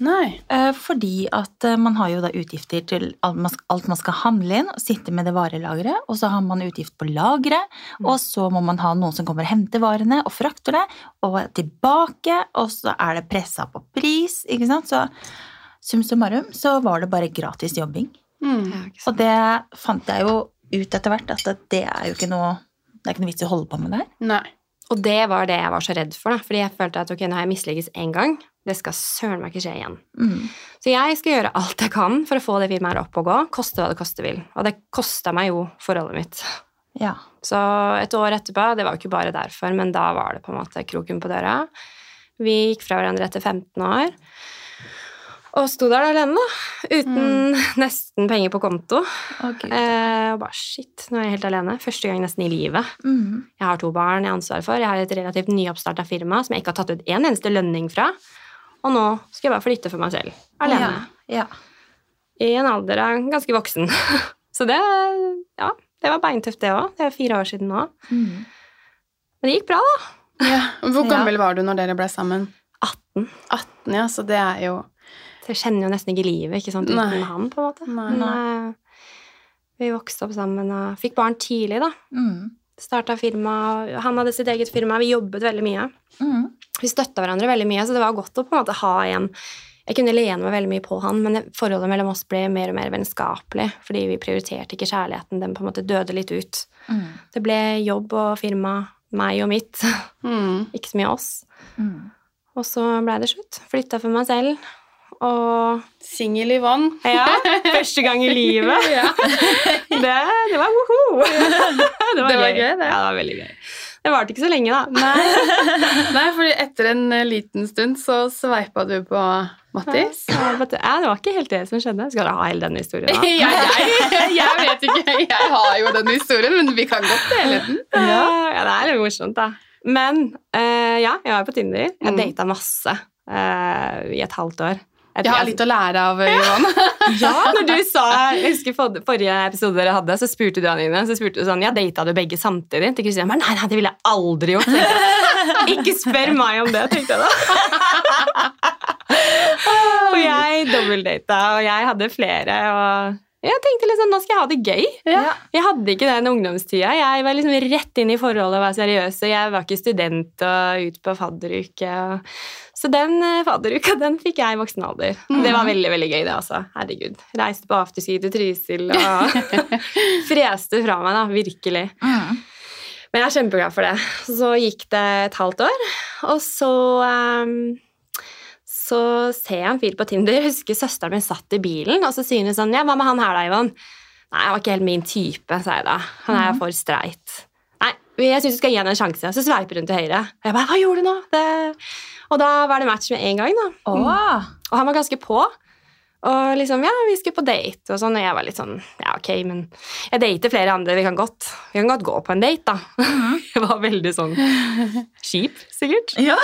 Speaker 2: Nei.
Speaker 1: Eh, Fordi at eh, man har jo da utgifter til alt man skal- alt man skal handle inn, og sitte med det varelageret, og så har man utgift på lageret, og så må man ha noen som kommer og henter varene og frakter det, og tilbake, og så er det pressa på pris, ikke sant? Så sum summarum så var det bare gratis jobbing.
Speaker 2: Mm.
Speaker 3: Ja, ikke sant.
Speaker 1: Og det fant jeg jo ut etter hvert, at det er jo ikke noe det er ikke noe vits i å holde på med det. her.
Speaker 2: Nei.
Speaker 3: Og det var det jeg var så redd for, da. fordi jeg følte at ok, nå har jeg misligges én gang. Det skal søren meg ikke skje igjen.
Speaker 1: Mm.
Speaker 3: Så jeg skal gjøre alt jeg kan for å få det firmaet her opp og gå, koste hva det koste vil. Og det kosta meg jo forholdet mitt.
Speaker 1: Ja.
Speaker 3: Så et år etterpå, det var jo ikke bare derfor, men da var det på en måte kroken på døra. Vi gikk fra hverandre etter 15 år. Og sto der alene, da. Uten nesten penger på konto.
Speaker 1: Å, Gud.
Speaker 3: Eh, og bare shit, nå er jeg helt alene. Første gang nesten i livet.
Speaker 1: Mm.
Speaker 3: Jeg har to barn jeg har ansvar for. Jeg har et relativt nyoppstarta firma som jeg ikke har tatt ut en eneste lønning fra. Og nå skal jeg bare flytte for meg selv. Alene.
Speaker 1: Ja. ja.
Speaker 3: I en alder av ganske voksen. Så det Ja, det var beintøft, det òg. Det er fire år siden nå.
Speaker 1: Mm.
Speaker 3: Men det gikk bra, da.
Speaker 2: Ja. Hvor
Speaker 1: Ja.
Speaker 2: gammel var du når dere ble sammen?
Speaker 3: 18.
Speaker 2: 18, ja, så det er jo
Speaker 3: Så jeg kjenner jo nesten ikke livet ikke sant, uten
Speaker 2: Nei.
Speaker 3: han, på en måte.
Speaker 2: Nei.
Speaker 3: Men, eh, vi vokste opp sammen og fikk barn tidlig, da.
Speaker 1: Mm.
Speaker 3: Starta firma. Han hadde sitt eget firma. Vi jobbet veldig mye.
Speaker 1: Mm.
Speaker 3: vi støtta hverandre veldig mye, så det var godt å på en måte ha en Jeg kunne lene meg veldig mye på han, men forholdet mellom oss ble mer og mer vennskapelig fordi vi prioriterte ikke kjærligheten. Den på en måte døde litt ut.
Speaker 1: Mm.
Speaker 3: Det ble jobb og firma, meg og mitt,
Speaker 2: mm.
Speaker 3: ikke så mye oss.
Speaker 1: Mm.
Speaker 3: Og så blei det slutt. Flytta for meg selv. Og
Speaker 2: Singel Yvonne.
Speaker 3: ja, første gang i livet.
Speaker 2: Ja.
Speaker 3: Det, det var woho! Det
Speaker 2: Det var gøy, det.
Speaker 3: Ja, det var veldig gøy. Det varte ikke så lenge, da.
Speaker 2: Nei, fordi etter en eh, liten stund så sveipa du på Mattis.
Speaker 3: Ja, men det ja, det var ikke helt det som skjedde. Skal dere ha hele den historien? da?
Speaker 2: Ja, jeg, jeg vet ikke. Jeg har jo den historien, men vi kan godt dele den.
Speaker 3: Eh, Ja. det er litt morsomt, da. Men eh, ja, jeg var på Tinder. Jeg
Speaker 2: Mm.
Speaker 3: data masse eh, i et halvt år. Jeg,
Speaker 2: Jeg har litt å lære av eh, Yvonne.
Speaker 3: ja, når du sa, jeg husker for, Forrige episode dere hadde, så spurte du Anine så spurte du sånn, ja, data du begge samtidig. Til Kristine, men nei, nei, det ville jeg aldri gjort. tenkte jeg. Ikke spør meg om det, tenkte jeg da. Og jeg dobbeltdata, og jeg hadde flere. og Jeg tenkte liksom, nå skal jeg ha det gøy.
Speaker 1: Ja.
Speaker 3: Jeg hadde ikke den ungdomstida. Jeg var liksom rett inn i forholdet og var seriøs. og Jeg var ikke student og ut på fadderuke. og- Så den eh, fadderuka den fikk jeg i voksen alder. Det var veldig veldig gøy, det også. Herregud. Reiste på afterski til Trysil og freste fra meg, da. Virkelig.
Speaker 1: Mm.
Speaker 3: Men jeg er kjempeglad for det. Så gikk det et halvt år, og så ehm, så ser jeg en fyr på Tinder. Jeg husker søsteren min satt i bilen, og så sier hun sånn Ja, hva med han her da, Ivan? Nei, han var ikke helt min type, sa jeg da. Han er for streit. Nei, jeg syns du skal gi han en sjanse. Så sveiper hun til høyre. Og jeg bare Hva gjorde du nå? Det... Og da var det match med en gang, da.
Speaker 1: Åh.
Speaker 3: Og han var ganske på. Og liksom, ja, vi skulle på date og sånn, og jeg var litt sånn, ja, ok, men jeg dater flere andre, vi kan godt, vi kan godt gå på en date, da. Jeg var veldig sånn kjip, sikkert.
Speaker 1: Ja.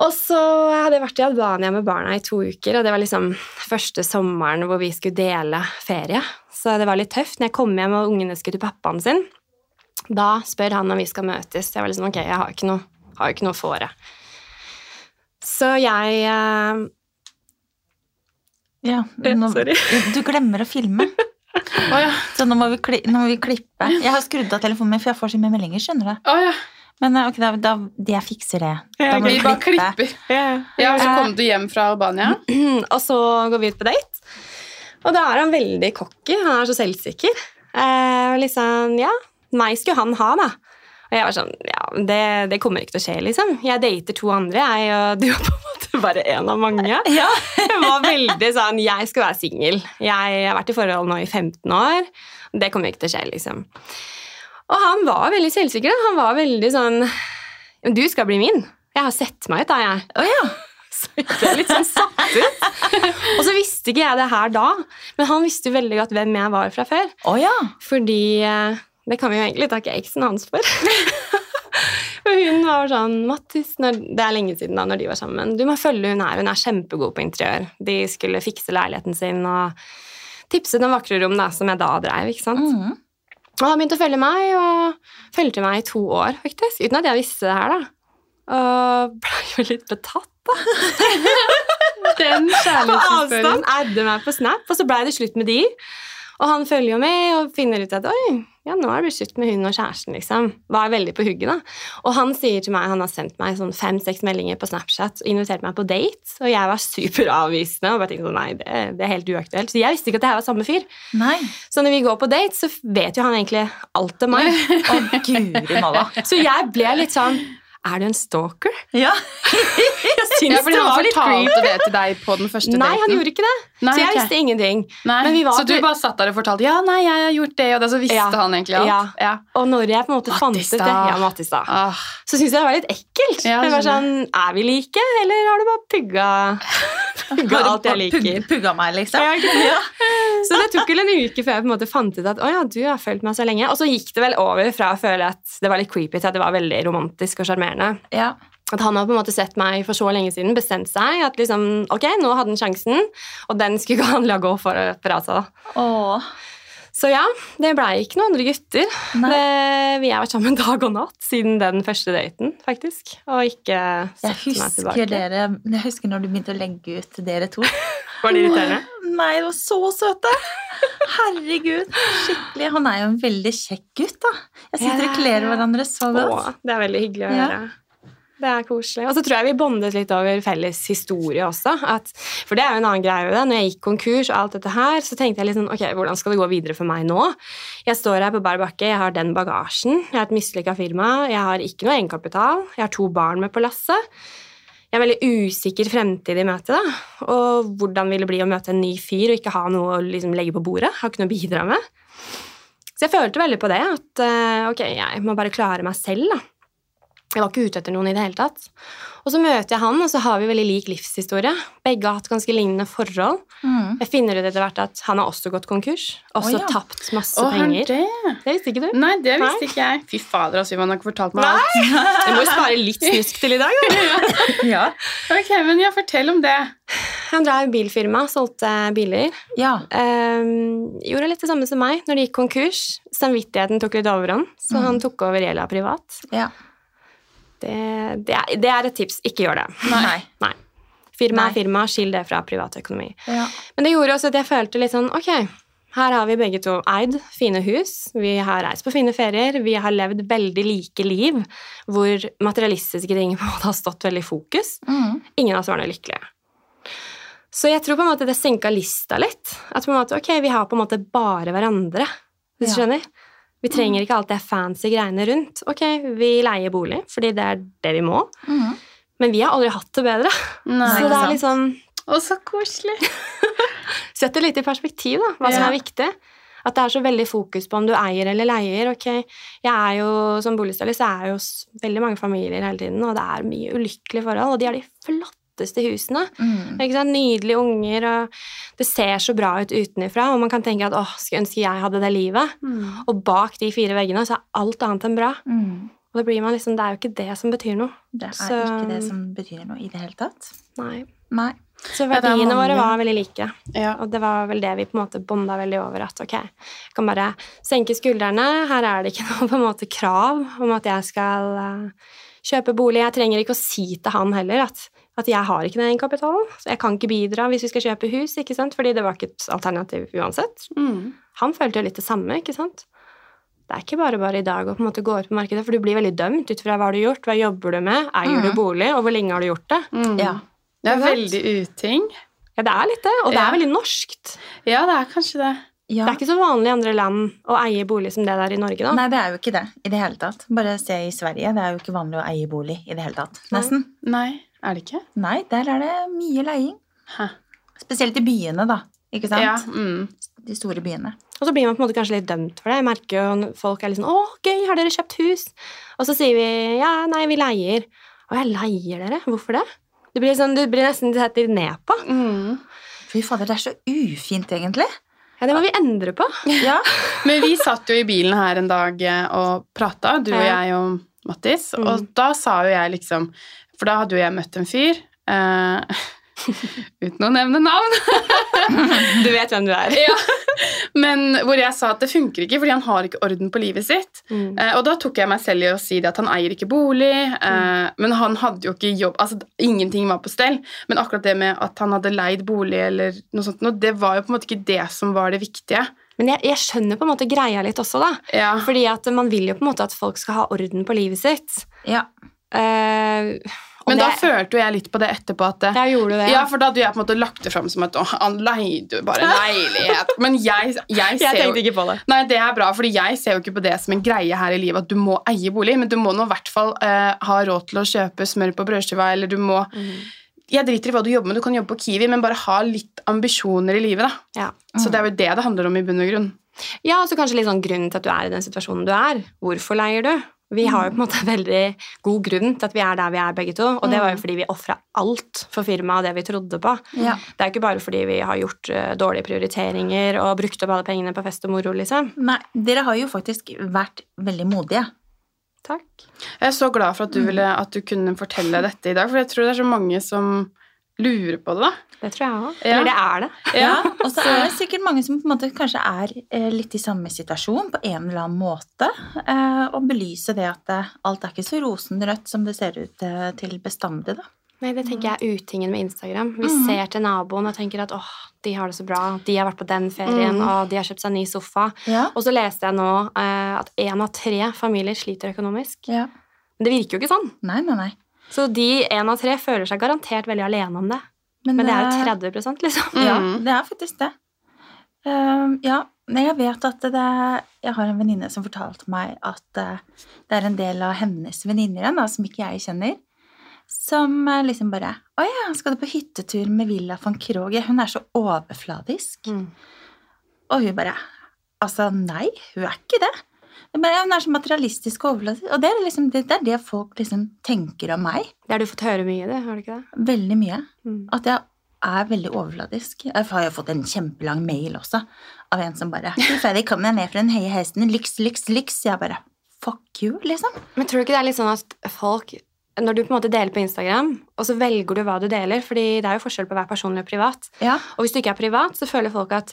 Speaker 3: Og så hadde jeg vært i Albania med barna i to uker, og det var liksom første sommeren hvor vi skulle dele ferie. Så det var litt tøft. Når jeg kom hjem og ungene skulle til pappaen sin, da spør han om vi skal møtes. Jeg var liksom, ok, jeg har ikke noe, har ikke noe for det. Så jeg... Eh,
Speaker 1: Ja,
Speaker 3: Eh,
Speaker 1: nå,
Speaker 3: sorry.
Speaker 1: du glemmer å filme,
Speaker 2: Å ja.
Speaker 1: så nå må, vi kli, nå må vi klippe. Jeg har skrudd av telefonen min, for jeg får så mye meldinger, skjønner du.
Speaker 2: Å ja.
Speaker 1: Men eh, ok, da, da, jeg fikser det. Da
Speaker 3: Ja,
Speaker 1: må
Speaker 2: Vi
Speaker 1: vi
Speaker 2: bare
Speaker 1: klippe. Eh.
Speaker 2: klipper. Ja, Så kom du hjem fra Albania.
Speaker 3: Og så går vi ut på date. Og da er han veldig cocky. Han er så selvsikker. Eh, og liksom, ja, meg skulle han ha, da. Og jeg var sånn, ja, det, det kommer ikke til å skje, liksom. Jeg dater to andre, jeg, og du er på en måte bare en av mange.
Speaker 1: Ja.
Speaker 3: Jeg var veldig sånn Jeg skal være singel. Jeg har vært i forhold nå i 15 år. Det kommer ikke til å skje, liksom. Og han var veldig selvsikker. da. Han var veldig sånn «Men Du skal bli min. Jeg har sett meg ut, da, jeg.
Speaker 1: Å ja.
Speaker 3: Så jeg ble litt sånn satt ut. Og så visste ikke jeg det her da, men han visste jo veldig godt hvem jeg var fra før.
Speaker 1: Å ja.
Speaker 3: Fordi eh, Det kan vi jo egentlig takke eksen hans for. Og hun var sånn Mattis, når, Det er lenge siden da når de var sammen. Du må følge hun her. Hun er kjempegod på interiør. De skulle fikse leiligheten sin og tipse den vakre rom da, som jeg da dreiv. ikke sant?
Speaker 1: Mhm.
Speaker 3: Og han begynte å følge meg, og fulgte meg i to år, faktisk. Uten at jeg visste det her, da. Og ble jo litt betatt.
Speaker 2: Den
Speaker 3: På avstand
Speaker 2: kjærlighetshistorien.
Speaker 3: adde meg på Snap, og så blei det slutt med de. Og han følger jo med og finner ut at oi, ja, nå er det blitt slutt med hun og kjæresten, liksom. Var veldig på hugget, da. Og han sier til meg, han har sendt meg sånn fem-seks meldinger på Snapchat og invitert meg på date, og jeg var superavvisende og bare tenkte sånn nei, det, det er helt uaktuelt. Så jeg visste ikke at det her var samme fyr.
Speaker 1: Nei.
Speaker 3: Så når vi går på date, så vet jo han egentlig alt om meg.
Speaker 1: Å, guri malla.
Speaker 3: Så jeg ble litt sånn Er du en stalker?
Speaker 1: Ja.
Speaker 3: Jeg syns
Speaker 2: Ja, fordi han fortalte det til deg på den første
Speaker 3: Nei, han
Speaker 2: daten.
Speaker 3: gjorde ikke det.
Speaker 2: Nei,
Speaker 3: så jeg
Speaker 2: ok.
Speaker 3: visste ingenting.
Speaker 2: Nei.
Speaker 3: Men vi var
Speaker 2: så du
Speaker 3: til-
Speaker 2: bare satt der og fortalte 'ja, nei, jeg har gjort det', og det, så visste
Speaker 3: Ja.
Speaker 2: han egentlig alt?
Speaker 3: Ja.
Speaker 2: Ja.
Speaker 3: Og når jeg på en måte fant ut
Speaker 2: Mattis,
Speaker 3: det,
Speaker 2: da.
Speaker 3: ja, Mattis da,
Speaker 2: Ah.
Speaker 3: så syntes jeg det var litt ekkelt.
Speaker 2: Ja,
Speaker 3: jeg var sånn,
Speaker 2: skjønner.
Speaker 3: Er vi like, eller har du bare pugga, pugga alt jeg liker?
Speaker 1: Pug- Pugga meg, liksom.
Speaker 3: Ja, ikke Så det tok vel en uke før jeg på en måte fant ut at å ja, du har følt meg så lenge. Og så gikk det vel over fra å føle at det var litt creepy til at det var veldig romantisk og sjarmerende.
Speaker 1: Ja.
Speaker 3: At han har på en måte sett meg for så lenge siden, bestemt seg at liksom, ok, nå hadde han sjansen, og den skulle ikke han la gå for fra seg. da.
Speaker 1: Å.
Speaker 3: Så ja, det blei ikke noen andre gutter.
Speaker 1: Nei.
Speaker 3: Det, vi har vært sammen dag og natt siden den første daten, faktisk. Og ikke
Speaker 1: Jeg
Speaker 3: satt meg
Speaker 1: husker
Speaker 3: tilbake.
Speaker 1: dere Jeg husker når du begynte å legge ut dere to.
Speaker 3: Var det irriterende?
Speaker 1: Nei, de var så søte! Herregud. Skikkelig. Han er jo en veldig kjekk gutt, da. Jeg syns
Speaker 3: Ja.
Speaker 1: dere kler hverandre så godt.
Speaker 3: Åh, det er veldig hyggelig å
Speaker 1: Ja.
Speaker 3: høre. Det er koselig. Og så tror jeg vi bondet litt over felles historie også. At, for det er jo en annen greie ved det. Når jeg gikk konkurs og alt dette her, så tenkte jeg litt sånn Ok, hvordan skal det gå videre for meg nå? Jeg står her på bar bakke, jeg har den bagasjen, jeg har et mislykka firma, jeg har ikke noe egenkapital, jeg har to barn med på lasset. Jeg har en veldig usikker fremtid i møte, da. Og hvordan vil det bli å møte en ny fyr og ikke ha noe å liksom legge på bordet? Har ikke noe å bidra med. Så jeg følte veldig på det, at eh, ok, jeg må bare klare meg selv, da. Jeg var ikke ute etter noen i det hele tatt. Og så møter jeg han, og så har vi veldig lik livshistorie. Begge har hatt ganske lignende forhold.
Speaker 1: Mm.
Speaker 3: Jeg finner ut etter hvert at han har også gått konkurs.
Speaker 1: Å,
Speaker 3: Også
Speaker 1: ja.
Speaker 3: tapt masse
Speaker 2: Å, har han
Speaker 3: penger.
Speaker 2: det?
Speaker 3: Det visste ikke du?
Speaker 2: Nei, det
Speaker 3: Nei.
Speaker 2: visste ikke jeg. Fy fader, altså, Ivan har ikke fortalt meg
Speaker 3: Nei.
Speaker 2: alt.
Speaker 3: Du må jo spare litt snusk til i dag, da.
Speaker 1: Ja.
Speaker 2: Ok, men ja, fortell om det.
Speaker 3: Han drev bilfirma, solgte biler.
Speaker 1: ja.
Speaker 3: Ehm, gjorde litt det samme som meg når det gikk konkurs. Samvittigheten tok litt overhånd, så
Speaker 1: Mhm.
Speaker 3: han tok over gjelda privat.
Speaker 1: Ja.
Speaker 3: Det, det, er, det er et tips. Ikke gjør det.
Speaker 1: Nei.
Speaker 3: Nei. Firma
Speaker 1: Nei.
Speaker 3: er firma, skill det fra privatøkonomi.
Speaker 1: Ja.
Speaker 3: Men det gjorde også at jeg følte litt sånn Ok, her har vi begge to eid fine hus. Vi har reist på fine ferier. Vi har levd veldig like liv hvor materialistiske ting på en måte har stått veldig i fokus.
Speaker 1: Mm.
Speaker 3: Ingen av oss var noe lykkelige. Så jeg tror på en måte det senka lista litt. At på en måte, ok, vi har på en måte bare hverandre. Hvis du
Speaker 1: Ja. Mm.
Speaker 3: skjønner? Vi trenger ikke alt det fancy greiene rundt. Ok, vi leier bolig, fordi det er det vi må.
Speaker 1: Mm.
Speaker 3: Men vi har aldri hatt det bedre.
Speaker 2: Nei.
Speaker 3: så det er
Speaker 1: sant.
Speaker 3: liksom
Speaker 2: Å, så koselig.
Speaker 3: Sett det litt i perspektiv, da, hva som
Speaker 2: Ja.
Speaker 3: er viktig. At det er så veldig fokus på om du eier eller leier. Ok, jeg er jo, Som boligstylist er jeg jo s- veldig mange familier hele tiden, og det er mye ulykkelige forhold. Og de har de flotteste husene.
Speaker 1: Mm.
Speaker 3: Ikke sant? Nydelige unger, og det ser så bra ut utenfra. Og man kan tenke at åh, skulle ønske jeg hadde det livet. Og bak de fire veggene så er alt annet enn bra.
Speaker 1: Mm.
Speaker 3: Og da blir man liksom, Det er jo ikke det som betyr noe.
Speaker 1: Det er
Speaker 3: Så-
Speaker 1: ikke det som betyr noe i det hele tatt.
Speaker 3: Nei.
Speaker 1: Nei.
Speaker 3: Så
Speaker 2: Ja, det er
Speaker 3: verdiene
Speaker 2: mange-
Speaker 3: våre var veldig like.
Speaker 2: Ja.
Speaker 3: Og det var vel det vi på en måte bonda veldig over. At ok, jeg kan bare senke skuldrene. Her er det ikke noe på en måte krav om at jeg skal eh, kjøpe bolig. Jeg trenger ikke å si til han heller at, at jeg har ikke den egenkapitalen. Så jeg kan ikke bidra hvis vi skal kjøpe hus, ikke sant? fordi det var ikke et alternativ uansett.
Speaker 2: Mm.
Speaker 3: Han følte jo litt det samme, ikke sant. Det er ikke bare bare i dag å på en måte gå ut på markedet, for du blir veldig dømt ut fra hva har du gjort, hva jobber du med, eier du
Speaker 1: Mhm.
Speaker 3: bolig, og hvor lenge har du gjort det?
Speaker 2: Mm.
Speaker 1: Ja.
Speaker 2: Det er
Speaker 3: Ikke sant?
Speaker 2: veldig uting.
Speaker 3: Ja, det er litt det, og det
Speaker 2: Ja.
Speaker 3: er veldig norskt.
Speaker 2: Ja, det er kanskje det.
Speaker 1: ja.
Speaker 3: Det er ikke så vanlig i andre land å eie bolig som det der i Norge, da.
Speaker 1: Nei, det er jo ikke det i det hele tatt. Bare se i Sverige. Det er jo ikke vanlig å eie bolig i det hele tatt.
Speaker 3: Nei.
Speaker 1: Nesten.
Speaker 2: Nei, er det ikke?
Speaker 1: Nei, der er det mye leiing.
Speaker 2: Hæ?
Speaker 1: Spesielt i byene, da. Ikke
Speaker 2: Ja,
Speaker 1: sant?
Speaker 2: mm.
Speaker 1: De store byene.
Speaker 3: Og så blir man på en måte kanskje litt dømt for det. Jeg merker jo når folk er litt sånn 'Å, gøy, har dere kjøpt hus?' Og så sier vi 'Ja, nei, vi leier'. 'Å, jeg leier dere? Hvorfor det?' Du blir, sånn, du blir nesten sett litt ned på.
Speaker 2: Mm.
Speaker 1: Fy fader, det er så ufint, egentlig.
Speaker 3: Ja, det må vi endre på.
Speaker 1: Ja.
Speaker 2: Men vi satt jo i bilen her en dag eh, og prata, du og
Speaker 3: Ja.
Speaker 2: jeg og Mattis,
Speaker 3: Mm.
Speaker 2: og da sa jo jeg liksom For da hadde jo jeg møtt en fyr eh, Uten å nevne navn.
Speaker 3: Du vet hvem du er.
Speaker 2: Ja. Men hvor jeg sa at det funker ikke, fordi han har ikke orden på livet sitt.
Speaker 3: Mm.
Speaker 2: Eh, og da tok jeg meg selv i å si det at han eier ikke bolig, eh,
Speaker 3: Mm.
Speaker 2: men han hadde jo ikke jobb Altså, ingenting var på stell. Men akkurat det med at han hadde leid bolig eller noe sånt, nå, det var jo på en måte ikke det som var det viktige.
Speaker 3: Men jeg, jeg skjønner på en måte greia litt også, da.
Speaker 2: Ja.
Speaker 3: Fordi at man vil jo på en måte at folk skal ha orden på livet sitt.
Speaker 1: ja.
Speaker 3: Eh, og
Speaker 2: Men da
Speaker 3: det,
Speaker 2: følte jo jeg litt på det etterpå at eh, det,
Speaker 3: Jeg gjorde det.
Speaker 2: Ja, for da hadde jeg på en måte lagt det fram som at å, han leide jo bare en leilighet. Men jeg, jeg ser jo
Speaker 3: ikke på det.
Speaker 2: Nei, det er bra, fordi jeg ser jo ikke på det som en greie her i livet at du må eie bolig, men du må nå i hvert fall eh, ha råd til å kjøpe smør på brødskiva, eller du må Jeg driter i hva du jobber med, du kan jobbe på Kiwi, men bare ha litt ambisjoner i livet, da.
Speaker 3: Ja.
Speaker 2: Så det er jo det det handler om i bunn og grunn.
Speaker 3: Ja, og så kanskje litt sånn grunnen til at du er i den situasjonen du er. Hvorfor leier du? Vi har jo på en måte en veldig god grunn til at vi er der vi er begge to, og det var jo fordi vi ofra alt for firmaet og det vi trodde på.
Speaker 1: Ja.
Speaker 3: Det er jo ikke bare fordi vi har gjort eh, dårlige prioriteringer og brukt opp alle pengene på fest og moro, liksom.
Speaker 1: Nei, dere har jo faktisk vært veldig modige.
Speaker 3: Takk.
Speaker 2: Jeg er så glad for at du, ville, at du kunne fortelle dette i dag, for jeg tror det er så mange som lurer på det, da.
Speaker 3: Det tror jeg òg.
Speaker 2: Ja.
Speaker 3: Eller det er det.
Speaker 1: Ja, og så er det sikkert mange som på en måte kanskje er eh, litt i samme situasjon på en eller annen måte, eh, og belyse det at eh, alt er ikke så rosenrødt som det ser ut eh, til bestandig, da.
Speaker 3: Nei, det tenker jeg er utingen med Instagram. Vi
Speaker 1: Mhm.
Speaker 3: ser til naboen og tenker at åh, de har det så bra, de har vært på den ferien,
Speaker 2: Mhm.
Speaker 3: og de har kjøpt seg en ny sofa.
Speaker 1: Ja.
Speaker 3: Og så leste jeg nå eh, at én av tre familier sliter økonomisk.
Speaker 1: ja.
Speaker 3: Men det virker jo ikke sånn.
Speaker 1: Nei, nei, nei.
Speaker 3: Så de én av tre føler seg garantert veldig alene om det. Men det er
Speaker 1: eh,
Speaker 3: jo 30 liksom.
Speaker 1: Ja,
Speaker 2: Mm.
Speaker 1: det er faktisk det. Ehm, ja, men jeg vet at det Jeg har en venninne som fortalte meg at eh, det er en del av hennes venninner igjen, da, som ikke jeg kjenner, som eh, liksom bare Å ja, skal du på hyttetur med Villa van Kroge? Hun er så overfladisk.
Speaker 3: Mm.
Speaker 1: Og hun bare Altså, nei, hun er ikke det. Hun bare, Hun er så materialistisk og overfladisk. Og det er liksom det, det, er det folk liksom tenker om meg.
Speaker 3: Det har du fått høre mye, du. Har du ikke det?
Speaker 1: Veldig mye.
Speaker 3: Mm.
Speaker 1: At jeg er veldig overfladisk. Jeg har jo fått en kjempelang mail også av en som bare «Fy fader, kom deg ned fra den høye hesten. Lyks, lyks, lyks. Jeg bare Fuck you, liksom.
Speaker 3: Men tror du ikke det er litt sånn at folk Når du på en måte deler på Instagram, og så velger du hva du deler, fordi det er jo forskjell på å være personlig og privat.
Speaker 1: Ja.
Speaker 3: Og hvis du ikke er privat, så føler folk at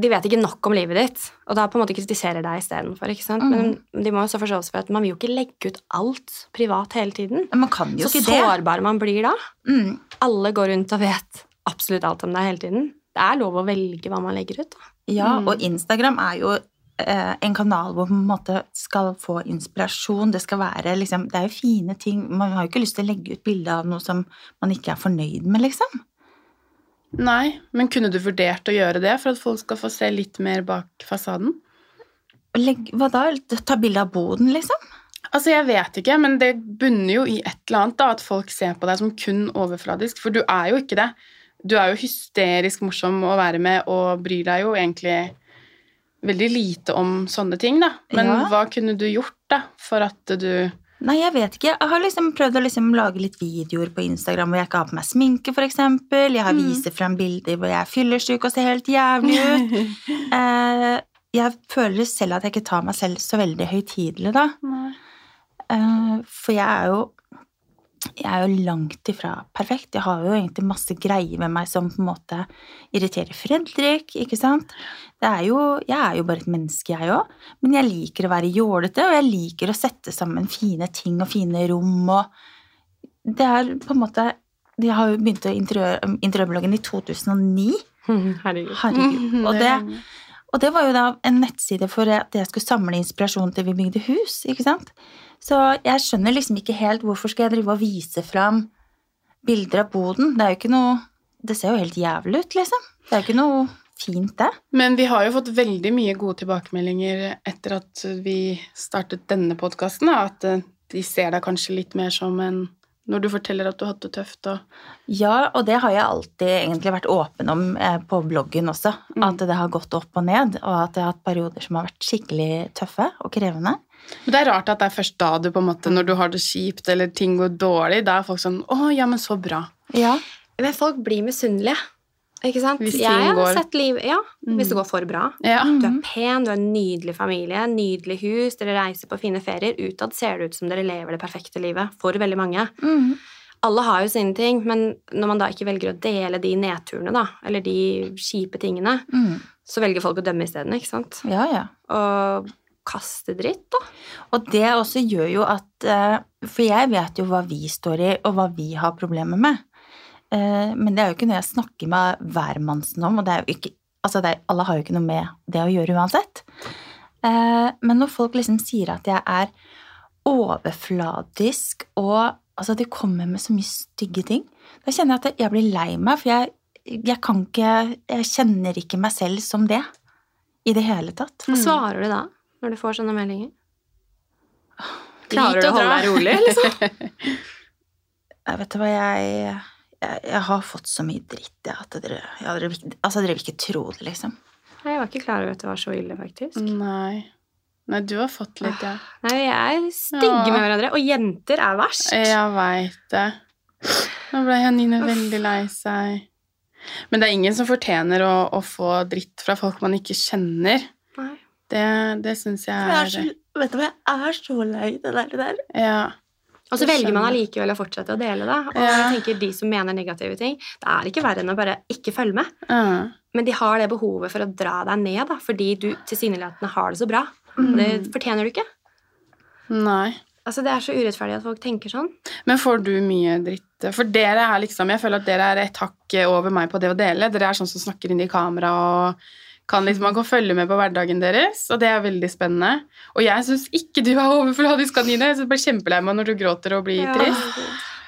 Speaker 3: de vet ikke nok om livet ditt, og da på en måte kritiserer deg istedenfor. ikke sant? Men de må jo så forstå for at man vil jo ikke legge ut alt privat hele tiden.
Speaker 1: Men man kan jo
Speaker 3: Så
Speaker 1: ikke
Speaker 3: sårbar man blir da.
Speaker 1: det. Mm.
Speaker 3: alle går rundt og vet absolutt alt om deg hele tiden. Det er lov å velge hva man legger ut. Da.
Speaker 1: Ja,
Speaker 2: Mm.
Speaker 1: og Instagram er jo eh, en kanal hvor man på en måte skal få inspirasjon. Det skal være liksom Det er jo fine ting. Man har jo ikke lyst til å legge ut bilde av noe som man ikke er fornøyd med, liksom.
Speaker 2: Nei, men kunne du vurdert å gjøre det for at folk skal få se litt mer bak fasaden?
Speaker 1: Legg, hva da? Ta bilde av boden, liksom?
Speaker 2: Altså, Jeg vet ikke, men det bunner jo i et eller annet. da, At folk ser på deg som kun overfladisk. For du er jo ikke det. Du er jo hysterisk morsom å være med og bryr deg jo egentlig veldig lite om sånne ting, da. Men
Speaker 1: Ja.
Speaker 2: hva kunne du gjort, da, for at du
Speaker 1: Nei, jeg vet ikke. Jeg har liksom prøvd å liksom lage litt videoer på Instagram hvor jeg ikke har på meg sminke, f.eks. Jeg har
Speaker 2: Mm.
Speaker 1: viser frem bilder hvor jeg er fyllesyk og ser helt jævlig ut. Eh, jeg føler selv at jeg ikke tar meg selv så veldig høytidelig, da.
Speaker 2: Nei.
Speaker 1: Eh, for jeg er jo jeg er jo langt ifra perfekt. Jeg har jo egentlig masse greier med meg som på en måte irriterer Fredrik, ikke sant? Det er jo, jeg er jo bare et menneske, jeg òg. Men jeg liker å være jålete, og jeg liker å sette sammen fine ting og fine rom og Det er på en måte Jeg har jo begynt å interiør, interiørbloggen i 2009.
Speaker 2: Mhm,
Speaker 3: Herregud.
Speaker 1: Herregud.
Speaker 2: Mm,
Speaker 1: Og det, og det var jo da en nettside for at jeg skulle samle inspirasjon til vi bygde hus. ikke sant? Så jeg skjønner liksom ikke helt hvorfor skal jeg drive og vise fram bilder av boden. Det er jo ikke noe Det ser jo helt jævlig ut, liksom. Det er jo ikke noe fint, det.
Speaker 2: Men vi har jo fått veldig mye gode tilbakemeldinger etter at vi startet denne podkasten, at eh, de ser deg kanskje litt mer som en når du forteller at du har hatt det tøft. Og,
Speaker 1: Ja, og det har jeg alltid egentlig vært åpen om eh, på bloggen også.
Speaker 2: Mm.
Speaker 1: At det har gått opp og ned, og at jeg har hatt perioder som har vært skikkelig tøffe og krevende.
Speaker 2: men det er rart at det er først da du på en måte, når du har det kjipt eller ting går dårlig, da er folk sånn 'Å, ja, men så bra'.
Speaker 1: Ja,
Speaker 3: Men folk blir misunnelige. Ikke sant?
Speaker 2: Hvis ting
Speaker 3: jeg har
Speaker 2: går- Mhm.
Speaker 3: sett liv Ja,
Speaker 2: Mm.
Speaker 3: hvis det går for bra.
Speaker 2: Ja.
Speaker 1: Mm.
Speaker 3: Du er pen, du har en nydelig familie, nydelig hus, dere reiser på fine ferier. Utad ser det ut som dere lever det perfekte livet for veldig mange.
Speaker 1: Mhm.
Speaker 3: Alle har jo sine ting, men når man da ikke velger å dele de nedturene, da, eller de kjipe tingene,
Speaker 1: Mhm.
Speaker 3: så velger folk å dømme isteden, ikke sant?
Speaker 1: ja, ja.
Speaker 3: Og kaste dritt, da.
Speaker 1: Og det også gjør jo at eh, For jeg vet jo hva vi står i, og hva vi har problemer med. Eh, Men det er jo ikke noe jeg snakker med hvermannsen om, og det er jo ikke Altså, det er, alle har jo ikke noe med det å gjøre uansett. Eh, Men når folk liksom sier at jeg er overfladisk og Altså, de kommer med så mye stygge ting. Da kjenner jeg at jeg blir lei meg, for jeg, jeg kan ikke Jeg kjenner ikke meg selv som det i det hele tatt.
Speaker 3: Hva
Speaker 2: Mm.
Speaker 3: svarer du da når du får sånne meldinger?
Speaker 2: Drit
Speaker 3: Klarer du
Speaker 2: og
Speaker 3: å holde
Speaker 2: dra.
Speaker 3: deg rolig, liksom?
Speaker 1: Jeg vet du hva, jeg, jeg, jeg har fått så mye dritt jeg, at dere, jeg, dere, vil ikke- altså, dere vil ikke tro det, liksom.
Speaker 3: Nei, Jeg var ikke klar over at det var så ille, faktisk.
Speaker 2: Nei. Nei, du har fått litt, ja.
Speaker 3: Nei, vi er stygge
Speaker 2: Ja.
Speaker 3: med hverandre, og jenter er verst.
Speaker 2: Jeg veit det. Nå ble Janine veldig lei seg. Men det er ingen som fortjener å, å få dritt fra folk man ikke kjenner.
Speaker 3: Nei.
Speaker 2: Det, det syns jeg er,
Speaker 1: vet du hva, jeg er så lei det der.
Speaker 2: Ja.
Speaker 3: Og så
Speaker 2: Jeg
Speaker 3: velger man
Speaker 2: skjønner.
Speaker 3: allikevel å fortsette å dele det. Og
Speaker 2: Ja.
Speaker 3: jeg tenker de som mener negative ting, det er ikke verre enn å bare ikke følge med.
Speaker 2: Ja.
Speaker 3: Men de har det behovet for å dra deg ned, da, fordi du tilsynelatende har det så bra. Og det fortjener du ikke.
Speaker 2: Nei.
Speaker 3: Altså, Det er så urettferdig at folk tenker sånn.
Speaker 2: Men får du mye dritt? For dere er liksom, jeg føler at dere er et hakk over meg på det å dele. Dere er sånn som snakker inn i kamera og kan liksom, man kan følge med på hverdagen deres, og det er veldig spennende. Og jeg syns ikke du er overfladisk, Anine. Jeg synes jeg blir kjempelei meg når du gråter og blir
Speaker 3: Ja.
Speaker 2: trist.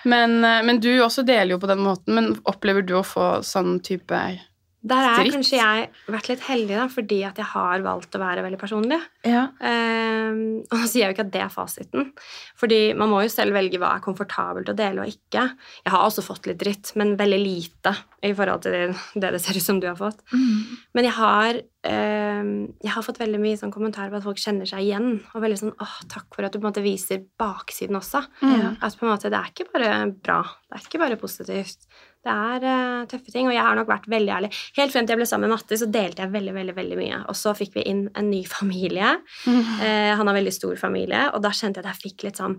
Speaker 2: Men, eh, men du også deler jo på den måten. Men opplever du å få sånn type
Speaker 3: Der har
Speaker 2: Dritt.
Speaker 3: kanskje jeg vært litt heldig, da, fordi at jeg har valgt å være veldig personlig.
Speaker 1: Ja.
Speaker 3: Ehm, og nå sier jeg jo ikke at det er fasiten. Fordi man må jo selv velge hva er komfortabelt å dele og ikke. Jeg har også fått litt dritt, men veldig lite i forhold til det det ser ut som du har fått. Men jeg har, ehm, jeg har fått veldig mye sånn kommentarer på at folk kjenner seg igjen. Og veldig sånn åh, takk for at du på en måte viser baksiden også.
Speaker 2: Mm.
Speaker 3: At på en måte det er ikke bare bra. Det er ikke bare positivt. Det er eh, tøffe ting. Og jeg har nok vært veldig ærlig. Helt frem til jeg ble sammen med Matti, så delte jeg veldig, veldig, veldig mye. Og så fikk vi inn en ny familie. Eh, han har veldig stor familie, og da kjente jeg at jeg fikk litt sånn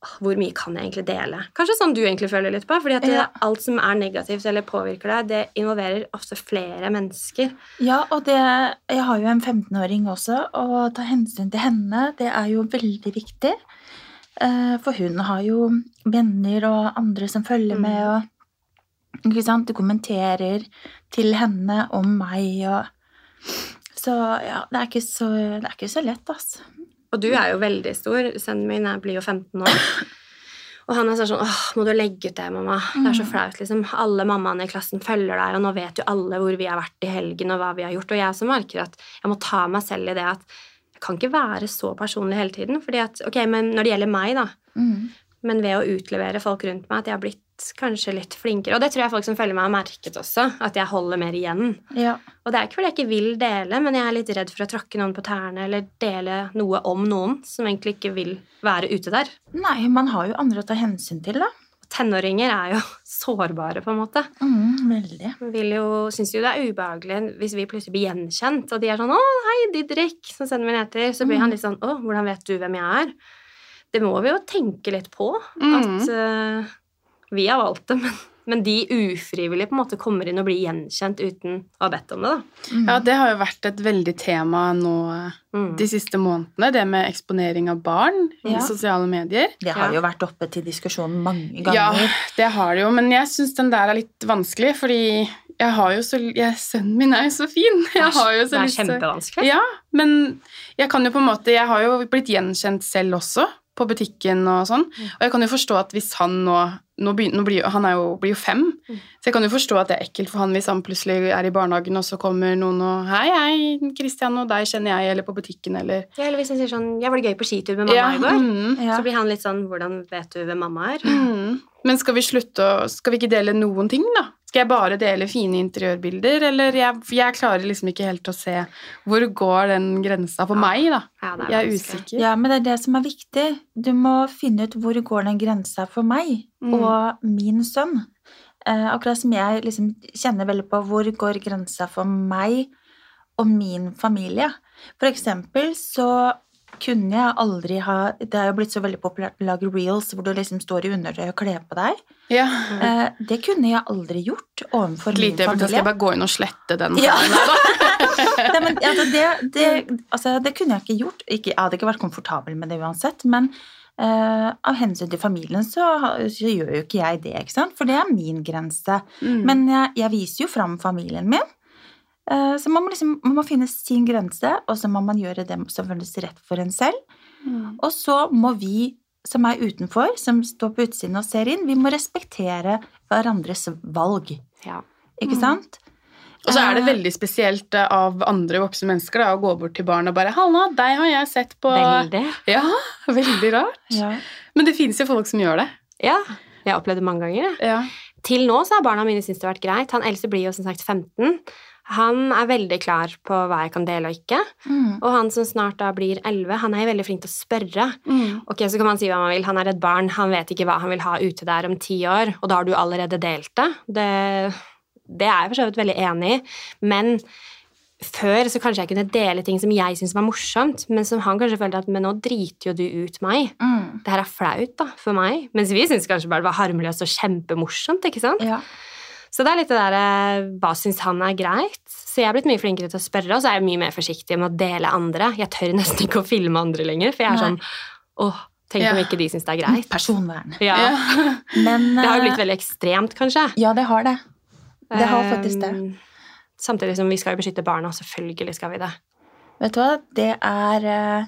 Speaker 3: «Åh, Hvor mye kan jeg egentlig dele? Kanskje sånn du egentlig føler litt på. fordi at det-
Speaker 1: Ja.
Speaker 3: alt som er negativt eller påvirker deg, det involverer ofte flere mennesker.
Speaker 1: ja, og det, jeg har jo en 15-åring også, og å ta hensyn til henne, det er jo veldig viktig. Eh, For hun har jo venner og andre som følger
Speaker 3: Mm.
Speaker 1: med, og ikke sant? du kommenterer til henne om meg, og så ja, det er ikke så, det er ikke så lett, altså.
Speaker 3: Og du er jo veldig stor. Sønnen min er, blir jo 15 år. Og han er sånn sånn Åh, må du legge ut det, mamma? Det er så flaut, liksom. Alle mammaene i klassen følger deg, og nå vet jo alle hvor vi har vært i helgen, og hva vi har gjort. Og jeg også merker at jeg må ta meg selv i det at jeg kan ikke være så personlig hele tiden. fordi at, ok, men når det gjelder meg, da,
Speaker 1: Mm.
Speaker 3: men ved å utlevere folk rundt meg at jeg har blitt kanskje litt flinkere. Og det tror jeg folk som følger meg, har merket også. At jeg holder mer igjen.
Speaker 1: Ja.
Speaker 3: Og det er ikke fordi jeg ikke vil dele, men jeg er litt redd for å tråkke noen på tærne eller dele noe om noen som egentlig ikke vil være ute der.
Speaker 1: Nei, man har jo andre å ta hensyn til, da.
Speaker 3: Og tenåringer er jo sårbare, på en måte.
Speaker 1: Mm, veldig.
Speaker 3: De vil jo, syns jo det er ubehagelig hvis vi plutselig blir gjenkjent, og de er sånn 'Å, hei, Didrik', som sønnen min heter. Så blir
Speaker 1: Mm.
Speaker 3: han litt sånn 'Å, hvordan vet du hvem jeg er?' Det må vi jo tenke litt på.
Speaker 2: Mm.
Speaker 3: At eh, vi har valgt det, men, men de ufrivillig på en måte kommer inn og blir gjenkjent uten å ha bedt om det. Da.
Speaker 2: Ja,
Speaker 1: Mm.
Speaker 2: det har jo vært et veldig tema nå eh,
Speaker 3: Mm.
Speaker 2: de siste månedene. Det med eksponering av barn
Speaker 1: Ja.
Speaker 2: i sosiale medier.
Speaker 1: det har
Speaker 3: ja.
Speaker 1: jo vært oppe til diskusjon mange
Speaker 2: Ja,
Speaker 1: ganger.
Speaker 2: det har det jo, men jeg syns den der er litt vanskelig, fordi jeg har jo så jeg, Sønnen min er jo så fin.
Speaker 3: Det er-
Speaker 2: Jeg har jo
Speaker 3: det
Speaker 2: så
Speaker 3: er
Speaker 2: lyst til
Speaker 3: kjempevanskelig.
Speaker 2: Ja, men jeg kan jo på en måte Jeg
Speaker 3: Mm.
Speaker 2: har jo blitt gjenkjent selv også, på butikken og sånn. Og jeg kan jo forstå at hvis han nå nå begyn- nå blir, jo- Han er jo, blir jo fem,
Speaker 3: Mm.
Speaker 2: så jeg kan jo forstå at det er ekkelt for han hvis han plutselig er i barnehagen, og så kommer noen og 'Hei, hei, Christian, og deg kjenner jeg', eller på butikken, eller
Speaker 3: Ja, eller hvis han sier sånn 'Ja, var det gøy på skitur med mamma
Speaker 2: Ja,
Speaker 3: i går?'
Speaker 2: mm,
Speaker 1: Ja.
Speaker 3: Så blir han litt sånn 'Hvordan vet du hvem mamma er?'
Speaker 2: mm. Men skal vi slutte å Skal vi ikke dele noen ting, da? Skal jeg bare dele fine interiørbilder, eller jeg, jeg klarer liksom ikke helt å se Hvor går den grensa for
Speaker 3: Ja.
Speaker 2: meg, da?
Speaker 3: Ja, det er
Speaker 2: Jeg er
Speaker 3: vanskelig.
Speaker 2: usikker.
Speaker 1: Ja, men det er det som er viktig. Du må finne ut hvor går den grensa for meg
Speaker 2: Mm.
Speaker 1: og min sønn. Eh, akkurat som jeg liksom kjenner veldig på hvor går grensa for meg og min familie. For eksempel så kunne jeg aldri ha Det er jo blitt så veldig populært å lage reels hvor du liksom står i undertøy og kler på deg.
Speaker 2: Ja.
Speaker 1: Eh, det kunne jeg aldri gjort overfor min
Speaker 2: Lite øyeblikk, da skal
Speaker 1: familie.
Speaker 2: jeg bare gå inn og slette den.
Speaker 1: Ja.
Speaker 2: her. Nei, da.
Speaker 1: Nei, men, altså, det, det, altså, det kunne jeg ikke gjort. Ikke, jeg hadde ikke vært komfortabel med det uansett. Men eh, av hensyn til familien så, ha- så gjør jo ikke jeg det, ikke sant? for det er min grense.
Speaker 2: Mm.
Speaker 1: Men jeg, jeg viser jo fram familien min. Eh, så man må, liksom, man må finne sin grense, og så må man gjøre det som føles rett for en selv.
Speaker 2: Mm.
Speaker 1: Og så må vi som er utenfor, som står på utsiden og ser inn, vi må respektere hverandres valg.
Speaker 3: Ja. Mm.
Speaker 1: Ikke sant?
Speaker 2: Og så er det
Speaker 1: Eh,
Speaker 2: veldig spesielt eh, av andre voksne mennesker da, å gå bort til barn og bare 'Halla, deg har jeg sett på'
Speaker 3: Veldig.
Speaker 2: Ja, veldig rart.
Speaker 1: Ja.
Speaker 2: Men det finnes jo folk som gjør det.
Speaker 3: Ja. Jeg har opplevd det mange ganger. jeg.
Speaker 2: Ja.
Speaker 3: Til nå så har barna mine syntes det har vært greit. Han eldste blir jo som sagt 15. Han er veldig klar på hva jeg kan dele og ikke.
Speaker 1: Mm.
Speaker 3: Og han som snart da blir 11, han er jo veldig flink til å spørre. Ok, så kan man si hva man vil. Han er et barn, han vet ikke hva han vil ha ute der om ti år, og da har du allerede delt det. Det, det er jeg for så vidt veldig enig i, men før så kanskje jeg kunne dele ting som jeg syntes var morsomt, men som han kanskje følte at men nå driter jo du ut meg.
Speaker 1: Mm.
Speaker 3: Det her er flaut da, for meg. Mens vi syntes kanskje bare det var harmløst og kjempemorsomt, ikke sant?
Speaker 1: Ja.
Speaker 3: Så det er litt det der eh, hva syns han er greit? Så jeg er blitt mye flinkere til å spørre, og så er jeg mye mer forsiktig med å dele andre. Jeg tør nesten ikke å filme andre lenger, for jeg er
Speaker 1: Nei.
Speaker 3: sånn åh, tenk om
Speaker 2: Ja.
Speaker 3: ikke de syns det er greit.
Speaker 1: Mm. Personvern.
Speaker 3: Ja.
Speaker 2: Ja.
Speaker 1: Men
Speaker 3: Det har jo
Speaker 1: eh,
Speaker 3: blitt veldig ekstremt, kanskje.
Speaker 1: Ja, det har det. Det har faktisk det.
Speaker 3: Um, Samtidig som vi skal jo beskytte barna, selvfølgelig skal vi det.
Speaker 1: Vet du hva, det er eh,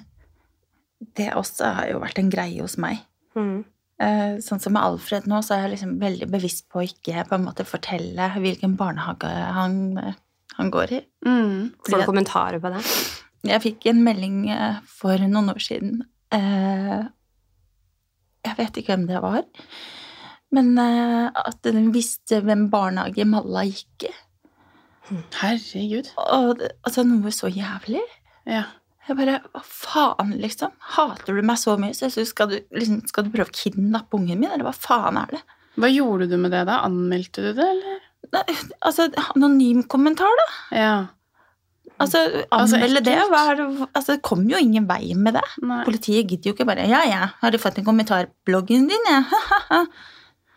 Speaker 1: Det også har jo vært en greie hos meg.
Speaker 3: Mm.
Speaker 1: Eh, Sånn som med Alfred nå, så er jeg liksom veldig bevisst på å ikke på en måte fortelle hvilken barnehage han, eh, han går i.
Speaker 2: Mm.
Speaker 3: Får du kommentarer på det?
Speaker 1: Jeg fikk en melding eh, for noen år siden. Eh, Jeg vet ikke hvem det var. Men eh, at den visste hvem barnehage Malla gikk i.
Speaker 2: Herregud.
Speaker 1: Og det- altså noe så jævlig.
Speaker 2: Ja.
Speaker 1: Jeg bare Hva faen, liksom? Hater du meg så mye? Så jeg synes, skal, du, liksom, skal du prøve å kidnappe ungen min, eller hva faen er det?
Speaker 2: Hva gjorde du med det, da? Anmeldte du det, eller?
Speaker 1: Nei, altså, anonym kommentar, da?
Speaker 2: Ja.
Speaker 1: Altså,
Speaker 2: Altså,
Speaker 1: Anmelde det?
Speaker 2: ekkelt.
Speaker 1: Hva er det altså, det kommer jo ingen vei med det.
Speaker 2: Nei.
Speaker 1: Politiet gidder jo ikke bare Ja, ja, har du fått en kommentar på bloggen din, ja?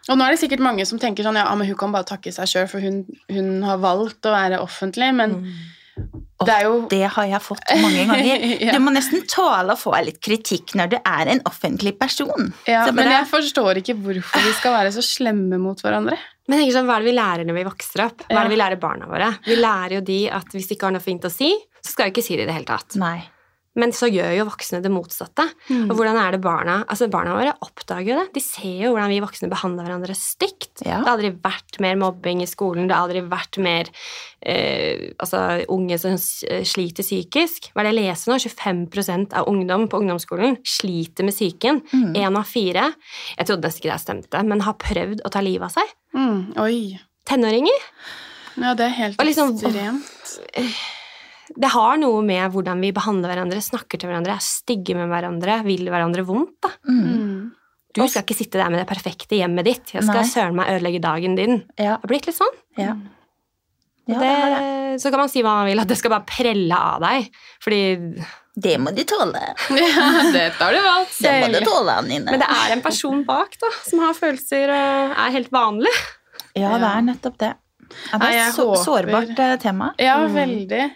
Speaker 2: Og nå er det sikkert mange som tenker sånn ja, men hun kan bare takke seg sjøl, for hun, hun har valgt å være offentlig, men
Speaker 3: Mm.
Speaker 2: det er jo
Speaker 1: Det har jeg fått mange ganger.
Speaker 2: Ja.
Speaker 1: Du må nesten tåle å få litt kritikk når du er en offentlig person.
Speaker 2: ja,
Speaker 1: Så bare-
Speaker 2: Men jeg forstår ikke hvorfor vi skal være så slemme mot hverandre.
Speaker 3: Men jeg tenker sånn, Hva er det vi lærer når vi vokser opp? Hva er
Speaker 2: Ja.
Speaker 3: det vi lærer barna våre? Vi lærer jo de at hvis de ikke har noe fint å si, så skal vi ikke si det i det hele tatt.
Speaker 1: Nei.
Speaker 3: Men så gjør jo voksne det motsatte.
Speaker 1: Mm.
Speaker 3: Og hvordan er det barna Altså Barna våre oppdager jo det. De ser jo hvordan vi voksne behandler hverandre stygt.
Speaker 1: Ja.
Speaker 3: Det har aldri vært mer mobbing i skolen. Det har aldri vært mer eh, altså, unge som s- eh, sliter psykisk. Hva er det jeg leser nå? 25 av ungdom på ungdomsskolen sliter med psyken.
Speaker 1: Mm.
Speaker 3: Én av fire. Jeg trodde nesten ikke det stemte, men har prøvd å ta livet av seg.
Speaker 2: Mm. Oi.
Speaker 3: Tenåringer.
Speaker 2: Ja, det er helt
Speaker 3: Og liksom-
Speaker 2: ekstremt.
Speaker 3: Det har noe med hvordan vi behandler hverandre, snakker til hverandre, er stygge med hverandre, vil hverandre vondt. da.
Speaker 1: Mm.
Speaker 2: Mm.
Speaker 3: Du skal ikke sitte der med det perfekte hjemmet ditt. Jeg skal
Speaker 1: Nei.
Speaker 3: søren meg ødelegge dagen din. Det
Speaker 1: Ja.
Speaker 3: har blitt litt sånn.
Speaker 1: ja.
Speaker 3: Og
Speaker 1: Ja,
Speaker 3: det,
Speaker 1: det har det.
Speaker 3: Så kan man si hva man vil, at det skal bare prelle av deg. Fordi,
Speaker 1: Det må du tåle.
Speaker 2: Ja, dette har du valgt
Speaker 1: Det må
Speaker 2: selv.
Speaker 1: du tåle, Anine.
Speaker 3: men det er en person bak da, som har følelser og er helt vanlig.
Speaker 1: Ja, det
Speaker 2: Ja.
Speaker 1: er nettopp det. Ja, det
Speaker 2: Nei,
Speaker 1: er
Speaker 2: jeg
Speaker 1: et så,
Speaker 2: håper-
Speaker 1: sårbart eh, tema.
Speaker 2: Ja,
Speaker 3: Mm.
Speaker 2: veldig.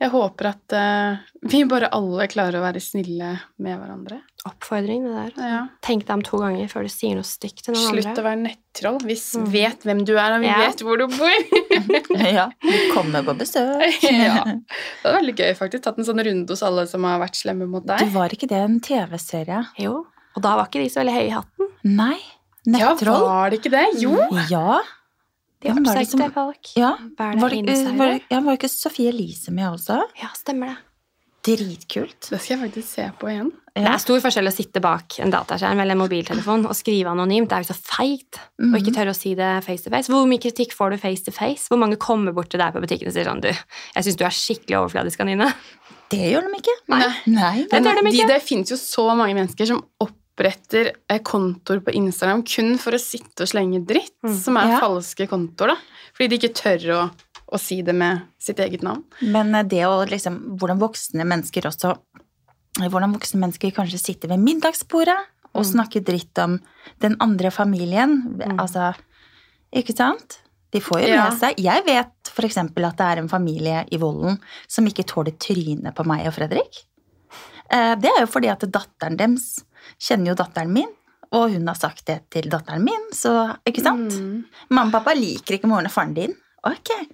Speaker 2: Jeg håper at eh, vi bare alle klarer å være snille med hverandre.
Speaker 3: Oppfordring, det der.
Speaker 2: Ja.
Speaker 3: Tenk deg om to ganger før du sier noe stygt til noen
Speaker 2: Slutt å
Speaker 3: andre.
Speaker 2: være nettroll. Vi s-
Speaker 3: Mm.
Speaker 2: vet hvem du er, og vi
Speaker 3: Ja.
Speaker 2: vet hvor du bor.
Speaker 1: Ja, du kommer på besøk.
Speaker 2: ja. Det var veldig gøy, faktisk. Tatt en sånn runde hos alle som har vært slemme mot
Speaker 1: Du
Speaker 2: deg.
Speaker 1: var ikke det en TV-serie?
Speaker 3: Jo, og da var ikke de så veldig høye i hatten.
Speaker 1: Nei.
Speaker 2: Ja,
Speaker 1: Nettroll?
Speaker 2: var det ikke det? Jo.
Speaker 3: Mm.
Speaker 1: Ja.
Speaker 3: De
Speaker 1: Hvem var det som-
Speaker 3: oppsøkte folk.
Speaker 1: ja.
Speaker 3: Hver
Speaker 1: Var,
Speaker 3: der
Speaker 1: det,
Speaker 3: inne
Speaker 1: eh, var, det- ja, var ikke Sofie Elise med også?
Speaker 3: Ja, stemmer det.
Speaker 1: Dritkult.
Speaker 2: Det skal jeg faktisk se på igjen.
Speaker 3: Det
Speaker 1: Ja.
Speaker 3: er stor forskjell å sitte bak en dataskjerm eller en mobiltelefon og skrive anonymt. Det er jo så feigt
Speaker 1: Mm.
Speaker 3: å ikke tørre å si det face to face. Hvor mye kritikk får du face to face? Hvor mange kommer bort til deg på butikken og sier sånn Du, jeg syns du er skikkelig overfladisk, Anine.
Speaker 1: Det gjør de ikke.
Speaker 2: Nei.
Speaker 1: Nei.
Speaker 3: Jeg
Speaker 2: Men
Speaker 3: tør dem
Speaker 2: de,
Speaker 3: ikke.
Speaker 2: det finnes jo så mange mennesker som oppretter eh, kontoer på Instagram kun for å sitte og slenge dritt,
Speaker 3: Mm.
Speaker 2: som er
Speaker 1: Ja.
Speaker 2: falske kontoer, da. Fordi de ikke tør å, å si det med sitt eget navn.
Speaker 1: Men eh, det å liksom Hvordan voksne mennesker også Hvordan voksne mennesker kanskje sitter ved middagsbordet og
Speaker 3: Mm.
Speaker 1: snakker dritt om den andre familien.
Speaker 3: Mm.
Speaker 1: Altså Ikke sant? De får jo med
Speaker 2: Ja.
Speaker 1: seg Jeg vet f.eks. at det er en familie i Vollen som ikke tåler trynet på meg og Fredrik. Eh, Det er jo fordi at datteren deres kjenner jo datteren min, og hun har sagt det til datteren min, så Ikke sant?
Speaker 2: Mm.
Speaker 1: Mamma og pappa liker ikke moren og faren din. Ok.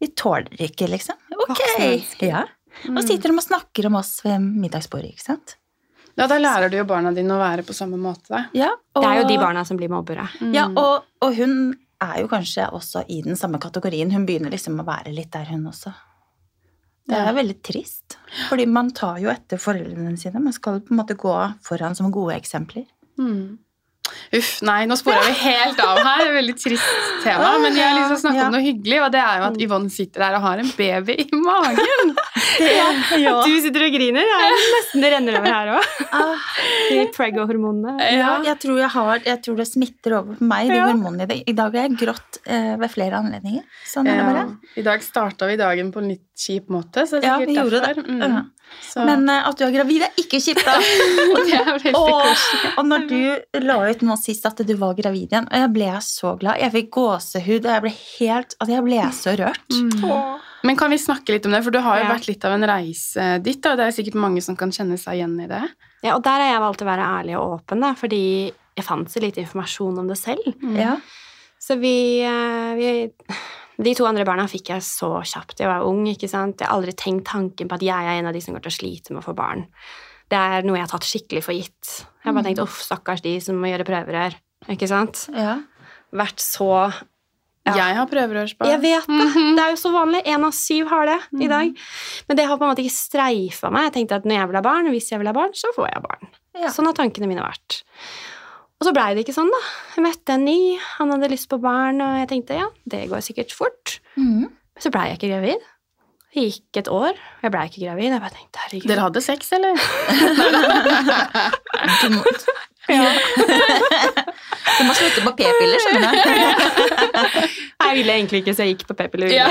Speaker 1: Vi tåler ikke, liksom. Ok.
Speaker 3: Voksne mennesker.
Speaker 1: Ja. Og sitter de og snakker om oss ved middagsbordet, ikke sant?
Speaker 2: Mm. Ja, da lærer du jo barna dine å være på samme måte. da.
Speaker 1: Ja, og,
Speaker 3: Det er jo de barna som blir mobbere.
Speaker 2: Mm.
Speaker 1: Ja, og, og hun er jo kanskje også i den samme kategorien. Hun begynner liksom å være litt der, hun også. Det er
Speaker 2: Ja.
Speaker 1: veldig trist. Fordi man tar jo etter foreldrene sine. Man skal på en måte gå foran som gode eksempler.
Speaker 2: Mm. Uff, nei, nå sporer vi helt av her. Det er et Veldig trist tema. Men jeg har lyst til å snakke
Speaker 1: Ja. Mm.
Speaker 2: om noe hyggelig, og det er jo at Yvonne sitter der og har en baby i magen.
Speaker 1: Ja.
Speaker 3: Du sitter og griner. Det er nesten det renner over her òg.
Speaker 1: Ah,
Speaker 3: De prego-hormonene.
Speaker 1: ja, jeg tror, jeg, har, jeg tror det smitter over på meg, de
Speaker 3: Ja.
Speaker 1: hormonene. i det. I dag har jeg grått eh, ved flere anledninger. Sånn er det bare.
Speaker 2: Ja. Eh, I dag starta vi dagen på en litt kjip måte, så det er
Speaker 1: Ja,
Speaker 2: sikkert
Speaker 1: vi gjorde
Speaker 2: derfor. Mm.
Speaker 1: Ja.
Speaker 2: Så
Speaker 1: Men eh, at du er gravid, er ikke kjipt, da.
Speaker 2: og det er veldig
Speaker 1: og,
Speaker 2: koselig.
Speaker 1: og når du la ut nå sist at du var gravid igjen, og jeg ble så glad. Jeg fikk gåsehud, og jeg ble helt Altså, jeg ble så
Speaker 3: Mm.
Speaker 1: rørt.
Speaker 3: Åh.
Speaker 2: Mm. Men kan vi snakke litt om det, for du har jo
Speaker 3: Ja.
Speaker 2: vært litt av en reise ditt, og det er sikkert mange som kan kjenne seg igjen i det.
Speaker 3: Ja, og der har jeg valgt å være ærlig og åpen, da, fordi jeg fant så lite informasjon om det selv.
Speaker 2: Mm.
Speaker 1: Ja.
Speaker 3: Så vi, eh, vi De to andre barna fikk jeg så kjapt. Jeg var ung, ikke sant. Jeg har aldri tenkt tanken på at jeg er en av de som går til å slite med å få barn. Det er noe jeg har tatt skikkelig for gitt. Jeg har bare tenkt uff, stakkars de som må gjøre prøverør. Ikke sant.
Speaker 1: ja.
Speaker 3: Vært så Ja.
Speaker 2: Jeg har prøverørsbarn.
Speaker 3: Jeg vet det! Det er jo så vanlig. Én av syv har det i dag. Men det har på en måte ikke streifa meg. Jeg tenkte at når jeg vil ha barn, hvis jeg vil ha barn, så får jeg barn.
Speaker 1: Ja.
Speaker 3: Sånn har tankene mine vært. Og så blei det ikke sånn, da. Jeg møtte en ny, han hadde lyst på barn, og jeg tenkte ja, det går sikkert fort.
Speaker 1: Mhm.
Speaker 3: Men så blei jeg ikke gravid. Det gikk et år, og jeg blei ikke gravid. Jeg bare tenkte herregud.
Speaker 2: Dere hadde sex, eller?
Speaker 1: Du, må, du må slutte på p-piller, skjønner du.
Speaker 3: Jeg ville egentlig ikke, så jeg gikk på p-piller.
Speaker 2: Ja.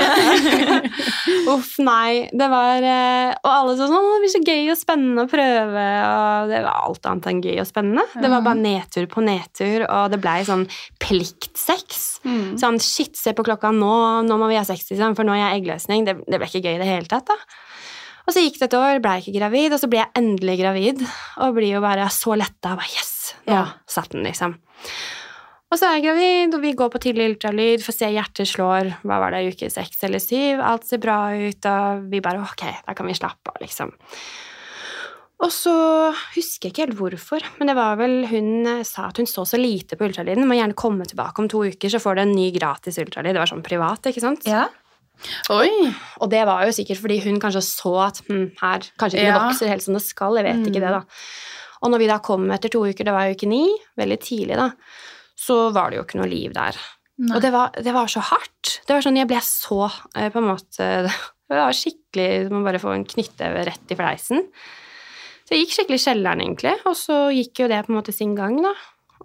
Speaker 3: Uff, nei. Det var eh, Og alle sa sånn, «Å, det blir så gøy og spennende å prøve. Og det var alt annet enn gøy og spennende. Det var bare nedtur på nedtur, og det blei sånn pliktsex.
Speaker 2: Mm.
Speaker 3: Sånn shit, se på klokka nå, nå må vi ha sex, liksom, for nå er jeg eggløsning. Det, det ble ikke gøy i det hele tatt, da. Og så gikk det et år, blei ikke gravid, og så ble jeg endelig gravid. Og blir jo bare så letta. Bare yes! Nå
Speaker 2: Ja.
Speaker 3: satt den, liksom. Og så er jeg gravid, og vi går på tidlig ultralyd, får se hjertet slår, hva var det, uke seks eller syv, alt ser bra ut, og vi bare ok, da kan vi slappe av, liksom. Og så husker jeg ikke helt hvorfor, men det var vel hun eh, sa at hun så så lite på ultralyden. Må gjerne komme tilbake om to uker, så får du en ny gratis ultralyd. Det var sånn privat, ikke sant?
Speaker 1: Ja.
Speaker 2: Oi!
Speaker 3: Og det var jo sikkert fordi hun kanskje så at hm, her kanskje ikke det
Speaker 2: Ja.
Speaker 3: vokser helt som det skal. Jeg vet
Speaker 2: Mm.
Speaker 3: ikke det, da. Og når vi da kom etter to uker, det var jo uke ni, veldig tidlig, da, så var det jo ikke noe liv der.
Speaker 1: Nei.
Speaker 3: Og det var, det var så hardt. Det var sånn, Jeg ble så eh, på en måte Det var skikkelig Man bare får en knyttneve rett i fleisen. Så jeg gikk skikkelig i kjelleren, egentlig. Og så gikk jo det på en måte sin gang, da.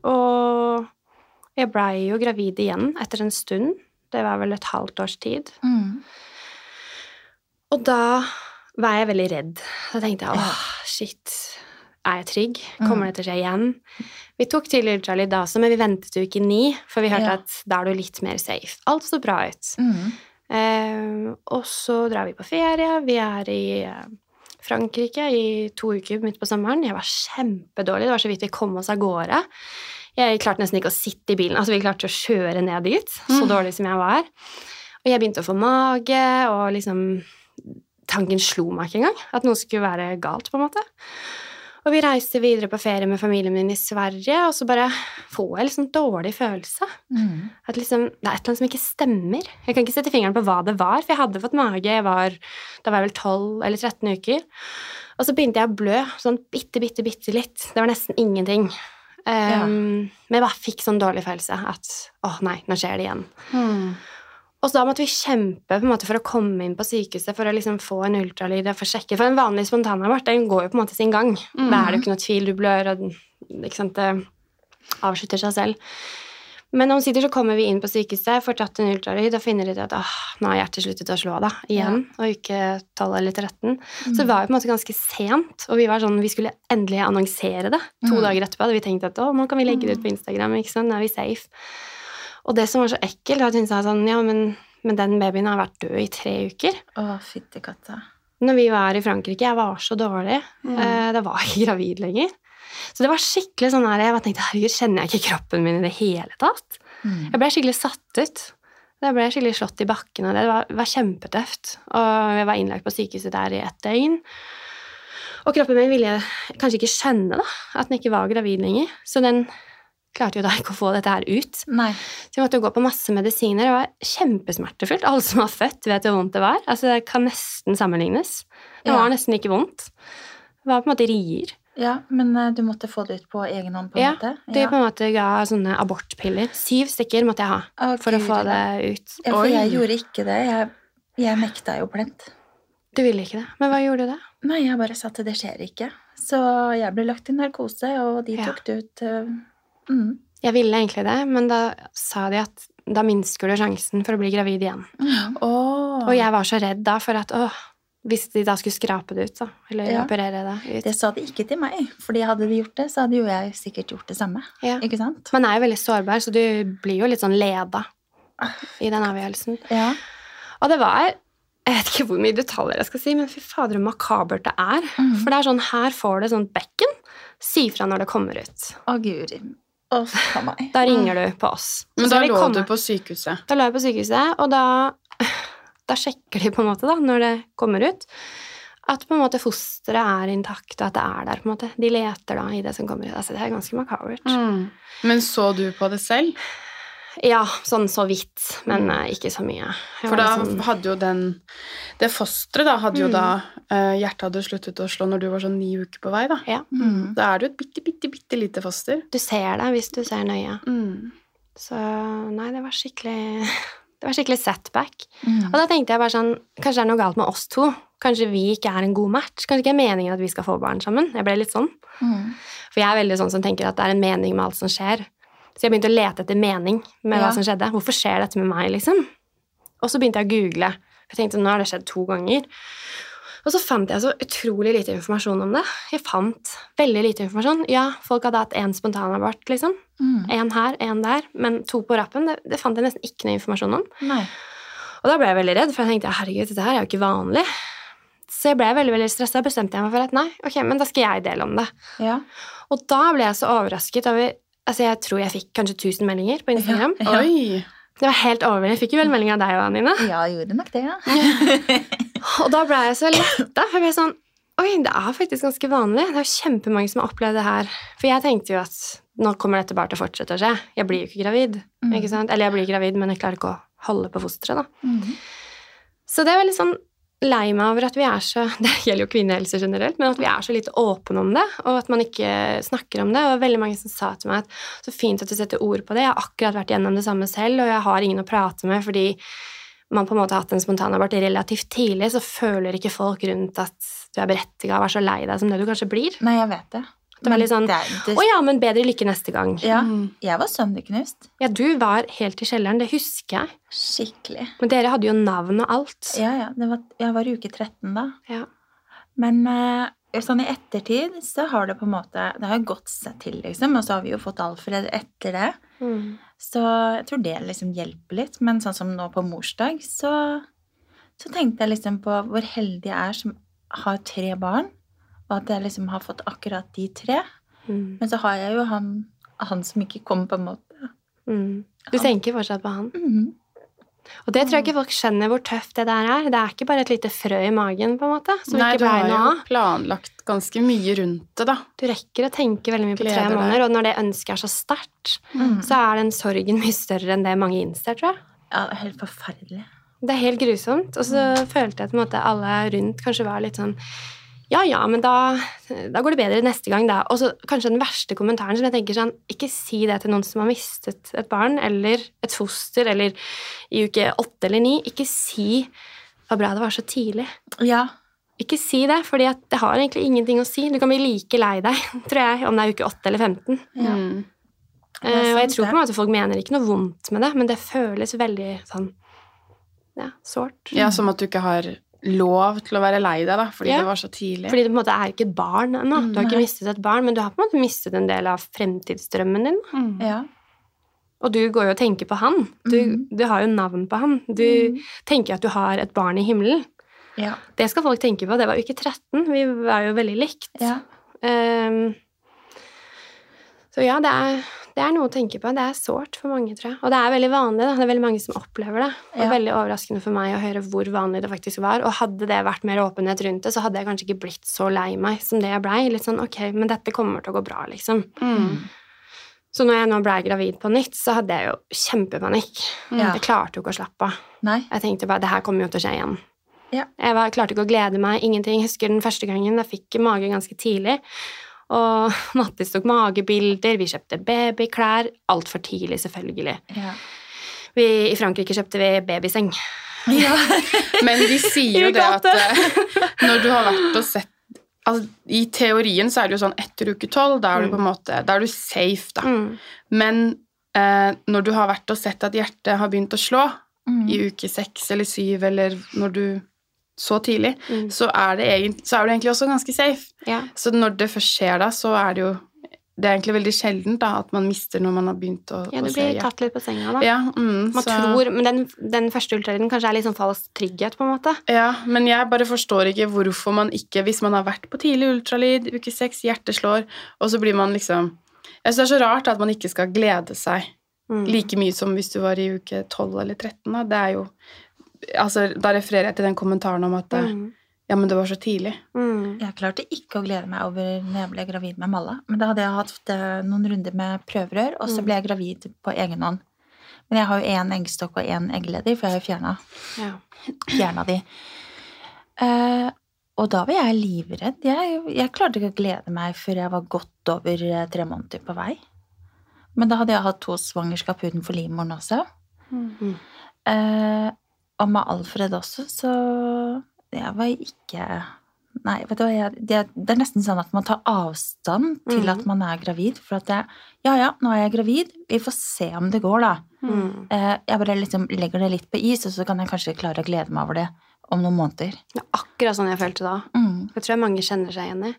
Speaker 3: Og jeg blei jo gravid igjen etter en stund. Det var vel et halvt års tid.
Speaker 1: Mhm.
Speaker 3: Og da var jeg veldig redd. Da tenkte jeg åh, shit. Er jeg trygg? Kommer det til å skje igjen? Vi tok tidlig ultralyd da også, men vi ventet til uke ni, for vi hørte
Speaker 1: Ja.
Speaker 3: at da er du litt mer safe. Alt så bra ut.
Speaker 1: Mhm.
Speaker 3: Eh, og så drar vi på ferie. Vi er i eh, Frankrike i to uker midt på sommeren. Jeg var kjempedårlig. Det var så vidt vi kom oss av gårde. Jeg klarte nesten ikke å sitte i bilen. Altså, vi klarte å kjøre ned dit, så
Speaker 2: Mm.
Speaker 3: dårlig som jeg var. Og jeg begynte å få mage, og liksom Tanken slo meg ikke engang. At noe skulle være galt, på en måte. Og vi reiste videre på ferie med familien min i Sverige, og så bare får jeg liksom dårlig følelse.
Speaker 1: Mm.
Speaker 3: At liksom, det er et eller annet som ikke stemmer. Jeg kan ikke sette fingeren på hva det var, for jeg hadde fått mage. Jeg var, da var jeg vel 12 eller 13 uker. Og så begynte jeg å blø sånn bitte, bitte, bitte litt. Det var nesten ingenting. Ehm, Men jeg bare fikk sånn dårlig følelse at åh nei, nå skjer det igjen.
Speaker 2: Mm.
Speaker 3: Og så da måtte vi kjempe på en måte for å komme inn på sykehuset for å liksom få en ultralyd og få sjekke. For en vanlig spontanabort den går jo på en måte sin gang.
Speaker 2: Mm.
Speaker 3: Da er det jo ikke noe tvil. Du blør, og den- ikke sant? det avslutter seg selv. Men omsider så kommer vi inn på sykehuset, får tatt en ultralyd og finner ut at åh, nå har hjertet sluttet å slå, da, igjen. Og uke 12 eller 13. Så
Speaker 1: Mhm.
Speaker 3: det var jo på en måte ganske sent, og vi var sånn, vi skulle endelig annonsere det. To
Speaker 1: Mm.
Speaker 3: dager etterpå hadde vi tenkt at å, nå kan vi legge det ut på Instagram, ikke sant, nå er vi safe. Og det som var så ekkelt, var at hun sa sånn, ja, men, men den babyen har vært død i tre uker.
Speaker 1: Å, fytti katta.
Speaker 3: Når vi var i Frankrike, jeg var så dårlig,
Speaker 2: Mm.
Speaker 3: eh, da var jeg ikke gravid lenger. Så det var skikkelig sånn her, jeg bare tenkte, herregud, kjenner jeg ikke kroppen min i det hele tatt?
Speaker 1: Mm.
Speaker 3: Jeg ble skikkelig satt ut. Jeg ble skikkelig slått i bakken av det. Det var, det var kjempetøft. Og jeg var innlagt på sykehuset der i ett døgn. Og kroppen min ville kanskje ikke skjønne da, at den ikke var gravid lenger. Så den klarte jo da ikke å få dette her ut.
Speaker 1: Nei.
Speaker 3: Så jeg måtte jo gå på masse medisiner. Det var kjempesmertefullt. Alle som har født, vet jo hvor vondt det var. Altså, det kan nesten sammenlignes. Det
Speaker 1: Ja.
Speaker 3: var nesten ikke vondt. Det var på en måte rier.
Speaker 1: Ja, men eh, du måtte få det ut på egen hånd, på en
Speaker 3: Ja,
Speaker 1: måte?
Speaker 3: Det på en måte ga sånne abortpiller. Syv stykker måtte jeg ha
Speaker 1: Å,
Speaker 3: for å
Speaker 1: Guri
Speaker 3: få
Speaker 1: land.
Speaker 3: det ut.
Speaker 1: Ja, for
Speaker 2: Oi.
Speaker 1: jeg gjorde ikke det. Jeg, jeg nekta jo plent.
Speaker 3: Du ville ikke det. Men hva gjorde du da?
Speaker 1: Nei, jeg bare sa at det skjer ikke. Så jeg ble lagt i narkose, og de
Speaker 3: Ja.
Speaker 1: tok det ut øh, mm.
Speaker 3: Jeg ville egentlig det, men da sa de at da minsker du sjansen for å bli gravid igjen.
Speaker 2: Mm.
Speaker 1: Åh.
Speaker 3: Og jeg var så redd da for at åh, hvis de da skulle skrape det ut, da, eller
Speaker 1: Ja.
Speaker 3: operere det ut.
Speaker 1: Det sa de ikke til meg, fordi hadde de gjort det, så hadde jo jeg sikkert gjort det samme.
Speaker 3: Ja.
Speaker 1: Ikke sant?
Speaker 3: Man er jo veldig sårbar, så du blir jo litt sånn leda i den avgjørelsen.
Speaker 1: Ja.
Speaker 3: Og det var Jeg vet ikke hvor mye detaljer jeg skal si, men fy fader, hvor makabert det er.
Speaker 1: Mhm.
Speaker 3: For det er sånn, her får du sånn bekken. Si fra når det kommer ut.
Speaker 1: Å, guri. Å, faen meg.
Speaker 3: Da ringer du på oss. Så
Speaker 2: Mm. Men da
Speaker 3: skal vi
Speaker 2: lå
Speaker 3: komme.
Speaker 2: du på sykehuset.
Speaker 3: Da lå jeg på sykehuset, og da, da sjekker de på en måte da, når det kommer ut, at på en måte fosteret er intakt, og at det er der. på en måte. De leter da i det som kommer ut. Altså, det er ganske makabert.
Speaker 2: Mm. Men så du på det selv?
Speaker 3: Ja, sånn så vidt, men eh, ikke så mye. Jeg
Speaker 2: For
Speaker 3: var
Speaker 2: da
Speaker 3: litt sånn-
Speaker 2: hadde jo den Det fosteret da hadde jo
Speaker 3: Mm.
Speaker 2: da eh, Hjertet hadde sluttet å slå når du var sånn ni uker på vei, da.
Speaker 3: ja,
Speaker 1: Mm.
Speaker 2: Da er det jo et bitte, bitte, bitte lite foster.
Speaker 3: du ser det hvis du ser nøye. Så nei, det var skikkelig det var skikkelig setback. Og
Speaker 1: Mm.
Speaker 3: da tenkte jeg bare sånn, kanskje det er noe galt med oss to. Kanskje vi ikke er en god match. Kanskje ikke er meningen at vi skal få barn sammen. Jeg ble litt sånn.
Speaker 1: Mm.
Speaker 3: For jeg er veldig sånn som tenker at det er en mening med alt som skjer. Så jeg begynte å lete etter mening med
Speaker 1: Ja.
Speaker 3: hva som skjedde. Hvorfor skjer dette med meg, liksom? Og så begynte jeg å google. Jeg tenkte, nå har det skjedd to ganger. Og så fant jeg så utrolig lite informasjon om det. Jeg fant veldig lite informasjon. Ja, folk hadde hatt én spontanabort, liksom.
Speaker 1: Mm.
Speaker 3: Én her, én der. Men to på rappen, det, det fant jeg nesten ikke noe informasjon om.
Speaker 1: Nei.
Speaker 3: Og da ble jeg veldig redd, for jeg tenkte, herregud, dette her er jo ikke vanlig. Så jeg ble veldig, veldig stresset. Da bestemte jeg meg for at nei, ok, men da skal jeg dele om det.
Speaker 1: Ja.
Speaker 3: Og da ble jeg så overrasket over Altså, jeg tror jeg fikk kanskje 1000 meldinger på Instagram.
Speaker 1: Ja.
Speaker 2: Oi!
Speaker 3: Det var helt overveldende. Jeg fikk jo vel melding av deg og Anine.
Speaker 1: Ja, jeg gjorde nok det, ja.
Speaker 3: Og da ble jeg så letta. Jeg ble sånn Oi, det er faktisk ganske vanlig. Det er jo kjempemange som har opplevd det her. For jeg tenkte jo at nå kommer dette bare til å fortsette å skje. Jeg blir jo ikke gravid.
Speaker 1: Mm.
Speaker 3: ikke sant? Eller jeg blir gravid, men jeg klarer ikke å holde på fosteret, da.
Speaker 1: Mm.
Speaker 3: Så det er veldig sånn lei meg over at vi er så Det gjelder jo kvinnehelse generelt, men at vi er så lite åpne om det, og at man ikke snakker om det. Og veldig mange som sa til meg at så fint at du setter ord på det, jeg har akkurat vært gjennom det samme selv, og jeg har ingen å prate med fordi man på en måte har hatt en spontanabort relativt tidlig, så føler ikke folk rundt at du er berettiga og er så lei deg som det du kanskje blir.
Speaker 1: Nei, jeg vet det.
Speaker 3: Det var litt sånn,
Speaker 1: det, er-
Speaker 3: Å
Speaker 1: det,
Speaker 3: ja, men bedre lykke neste gang.
Speaker 1: ja.
Speaker 2: Mm.
Speaker 1: Jeg var sønderknust.
Speaker 3: Ja, du var helt i kjelleren, det husker jeg.
Speaker 1: Skikkelig.
Speaker 3: Men dere hadde jo navn og alt.
Speaker 1: Ja, ja. Det var, jeg var i uke 13 da.
Speaker 3: Ja.
Speaker 1: Men eh, sånn i ettertid så har det på en måte Det har jo gått seg til, liksom. Og så har vi jo fått Alfred etter det.
Speaker 3: Mm.
Speaker 1: Så jeg tror det liksom hjelper litt. Men sånn som nå på morsdag, så, så tenkte jeg liksom på hvor heldig jeg er som har tre barn. Og at jeg liksom har fått akkurat de tre.
Speaker 3: Mm.
Speaker 1: Men så har jeg jo han, han som ikke kom, på en måte.
Speaker 3: Mm. Du
Speaker 1: Ja.
Speaker 3: tenker fortsatt på han.
Speaker 1: Mhm.
Speaker 3: Og det tror
Speaker 2: Mm.
Speaker 3: jeg ikke folk skjønner hvor tøft det der er. Det er ikke bare et lite frø i magen, på en måte, som
Speaker 2: Nei,
Speaker 3: ikke
Speaker 2: du har
Speaker 3: blei
Speaker 2: jo
Speaker 3: noe av.
Speaker 2: planlagt ganske mye rundt det, da.
Speaker 3: Du rekker å tenke veldig mye på tre
Speaker 2: Gleder deg. Mm.
Speaker 3: måneder, og når det ønsket er så sterkt,
Speaker 1: Mm.
Speaker 3: så er den sorgen mye større enn det mange innser, tror jeg.
Speaker 1: Ja, det er helt forferdelig.
Speaker 3: Det er helt grusomt. Og så
Speaker 2: Mm.
Speaker 3: følte jeg på en måte alle rundt kanskje var litt sånn ja, ja, men da, da går det bedre neste gang, da. Og så kanskje den verste kommentaren som jeg tenker sånn Ikke si det til noen som har mistet et barn eller et foster eller i uke åtte eller ni. Ikke si 'Hva bra det var så tidlig'.
Speaker 1: Ja.
Speaker 3: Ikke si det, for det har egentlig ingenting å si. Du kan bli like lei deg, tror jeg, om det er uke 8 eller 15.
Speaker 1: Ja.
Speaker 2: Mm.
Speaker 1: Det er
Speaker 3: Eh, og jeg
Speaker 1: sant,
Speaker 3: tror på
Speaker 1: det.
Speaker 3: en måte folk mener ikke noe vondt med det, men det føles veldig sånn ja, sårt.
Speaker 2: Ja, Som at du ikke har lov til å være lei deg da, fordi
Speaker 3: Ja.
Speaker 2: det var så tidlig.
Speaker 3: Fordi du på en måte er ikke et barn ennå. Du har ikke
Speaker 1: Nei.
Speaker 3: mistet et barn, men du har på en måte mistet en del av fremtidsdrømmen din.
Speaker 2: Mm.
Speaker 1: Ja.
Speaker 3: Og du går jo og tenker på han. Du,
Speaker 1: Mhm.
Speaker 3: du har jo navn på han. Du tenker at du har et barn i himmelen.
Speaker 1: Ja.
Speaker 3: Det skal folk tenke på. Det var uke 13. Vi var jo veldig likt.
Speaker 1: ja.
Speaker 3: Ehm, så ja, det er, det er noe å tenke på. Det er sårt for mange, tror jeg. Og det er veldig vanlig. Da. Det er veldig mange som opplever det. Og
Speaker 1: Ja.
Speaker 3: veldig overraskende for meg å høre hvor vanlig det faktisk var. Og hadde det vært mer åpenhet rundt det, så hadde jeg kanskje ikke blitt så lei meg som det jeg blei. Litt sånn ok, men dette kommer til å gå bra, liksom.
Speaker 2: Mm.
Speaker 3: Så når jeg nå blei gravid på nytt, så hadde jeg jo kjempepanikk.
Speaker 1: Ja.
Speaker 3: Jeg klarte jo ikke å slappe av.
Speaker 1: Nei.
Speaker 3: Jeg tenkte bare det her kommer jo til å skje igjen.
Speaker 1: Ja.
Speaker 3: Jeg var, klarte ikke å glede meg. Ingenting. Jeg husker den første gangen jeg fikk mage ganske tidlig. Og Mattis tok magebilder, vi kjøpte babyklær. Altfor tidlig, selvfølgelig.
Speaker 1: Ja.
Speaker 3: Vi, I Frankrike kjøpte vi babyseng.
Speaker 1: Ja.
Speaker 2: Men de sier jo det at eh, når du har vært og sett altså, I teorien så er det jo sånn etter uke tolv, da er du på en måte da er du safe, da.
Speaker 3: Mm.
Speaker 2: Men eh, når du har vært og sett at hjertet har begynt å slå
Speaker 1: Mm.
Speaker 2: i uke seks eller syv, eller når du så tidlig,
Speaker 3: Mm.
Speaker 2: så, er det egentlig, så er du egentlig også ganske safe.
Speaker 3: Ja.
Speaker 2: Så når det først skjer da, så er det jo Det er egentlig veldig sjeldent da, at man mister når man har begynt å,
Speaker 3: ja,
Speaker 2: å
Speaker 3: du
Speaker 2: se
Speaker 3: blir
Speaker 2: hjertet.
Speaker 3: tatt litt på senga, da.
Speaker 2: Ja, mm,
Speaker 3: Man
Speaker 2: så-
Speaker 3: tror, men den, den første ultralyden kanskje er litt sånn falsk trygghet, på en måte.
Speaker 2: Ja, men jeg bare forstår ikke hvorfor man ikke, hvis man har vært på tidlig ultralyd, uke seks, hjertet slår, og så blir man liksom Jeg syns det er så rart at man ikke skal glede seg
Speaker 3: Mm.
Speaker 2: like mye som hvis du var i uke 12 eller 13. Da. Det er jo Altså, da refererer jeg til den kommentaren om at eh,
Speaker 3: Mm.
Speaker 2: Ja, men det var så tidlig.
Speaker 3: Mm.
Speaker 1: Jeg klarte ikke å glede meg over når jeg ble gravid med Malla. Men da hadde jeg hatt eh, noen runder med prøverør, og så
Speaker 3: Mm.
Speaker 1: ble jeg gravid på egen hånd. Men jeg har jo én eggstokk og én eggleder, for jeg har jo fjerna
Speaker 3: Ja.
Speaker 1: fjerna de. Eh, og da var jeg livredd. Jeg, jeg klarte ikke å glede meg før jeg var godt over eh, tre måneder på vei. Men da hadde jeg hatt to svangerskap utenfor livmoren også.
Speaker 3: Mm.
Speaker 1: Eh, og med Alfred også, så jeg var ikke Nei, vet du hva, jeg, det, det er nesten sånn at man tar avstand til
Speaker 3: Mhm.
Speaker 1: at man er gravid. For at jeg Ja ja, nå er jeg gravid. Vi får se om det går, da.
Speaker 3: Mm.
Speaker 1: Eh, Jeg bare liksom legger det litt på is, og så kan jeg kanskje klare å glede meg over det om noen måneder.
Speaker 3: Det er akkurat sånn jeg følte da.
Speaker 1: Mm.
Speaker 3: Det tror jeg mange kjenner seg igjen i.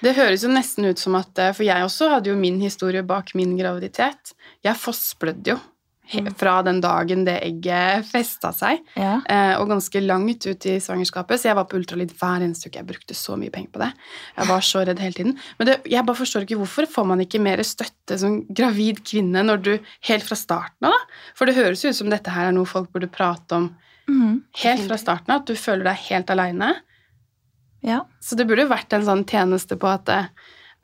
Speaker 2: Det høres jo nesten ut som at eh, For jeg også hadde jo min historie bak min graviditet. Jeg fossblødde jo he- fra den dagen det egget festa seg.
Speaker 1: Ja.
Speaker 2: Eh, og ganske langt ut i svangerskapet, så jeg var på ultralyd hver eneste uke. Jeg brukte så mye penger på det. Jeg var så redd hele tiden. Men det, jeg bare forstår ikke hvorfor får man ikke mer støtte som gravid kvinne når du, helt fra starten av, da? For det høres jo ut som dette her er noe folk burde prate om
Speaker 1: Mhm.
Speaker 2: helt fra starten av, at du føler deg helt aleine.
Speaker 1: ja.
Speaker 2: Så det burde jo vært en sånn tjeneste på at eh,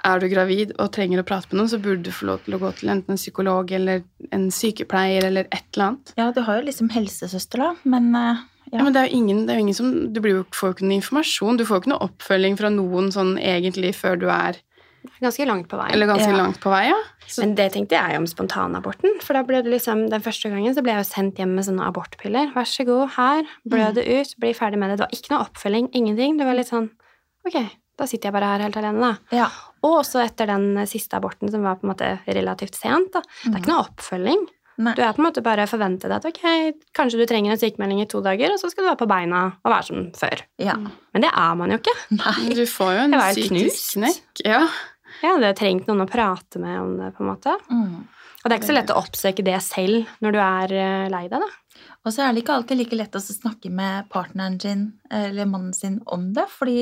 Speaker 2: er du gravid og trenger å prate med noen, så burde du få lov til å gå til enten en psykolog eller en sykepleier eller et eller annet.
Speaker 1: Ja, du har jo liksom helsesøster, da, men eh,
Speaker 2: Ja.
Speaker 1: ja.
Speaker 2: men det er jo ingen, det er jo ingen som, Du blir jo, får jo ikke noe informasjon. Du får jo ikke noe oppfølging fra noen sånn egentlig før du er
Speaker 3: Ganske langt på vei.
Speaker 2: eller ganske
Speaker 1: Ja.
Speaker 2: langt på vei. ja. Så,
Speaker 3: Men det tenkte jeg om spontanaborten. For da ble det liksom, den første gangen så ble jeg jo sendt hjem med sånne abortpiller. Vær så god, her. Blø det ut. Bli ferdig med det. Det var ikke noe oppfølging. Ingenting. Det var litt sånn Ok, da sitter jeg bare her helt alene, da.
Speaker 1: ja.
Speaker 3: Og også etter den eh, siste aborten, som var på en måte relativt sent. da. Det er ikke noe oppfølging.
Speaker 1: Mm. Nei.
Speaker 3: Du er på en måte bare forventet at ok, kanskje du trenger en sykemelding i to dager, og så skal du være på beina og være som før.
Speaker 1: ja.
Speaker 3: Men det er man jo ikke.
Speaker 1: Nei.
Speaker 2: du får jo en
Speaker 3: Jeg var helt
Speaker 2: psykisk
Speaker 3: knust.
Speaker 2: knekk. Ja.
Speaker 3: Jeg hadde trengt noen å prate med om det, på en måte.
Speaker 1: Mm.
Speaker 3: Og det er ikke så lett å oppsøke det selv når du er eh, lei deg, da.
Speaker 1: Og så er det ikke alltid like lett å snakke med partneren sin eller mannen sin om det, fordi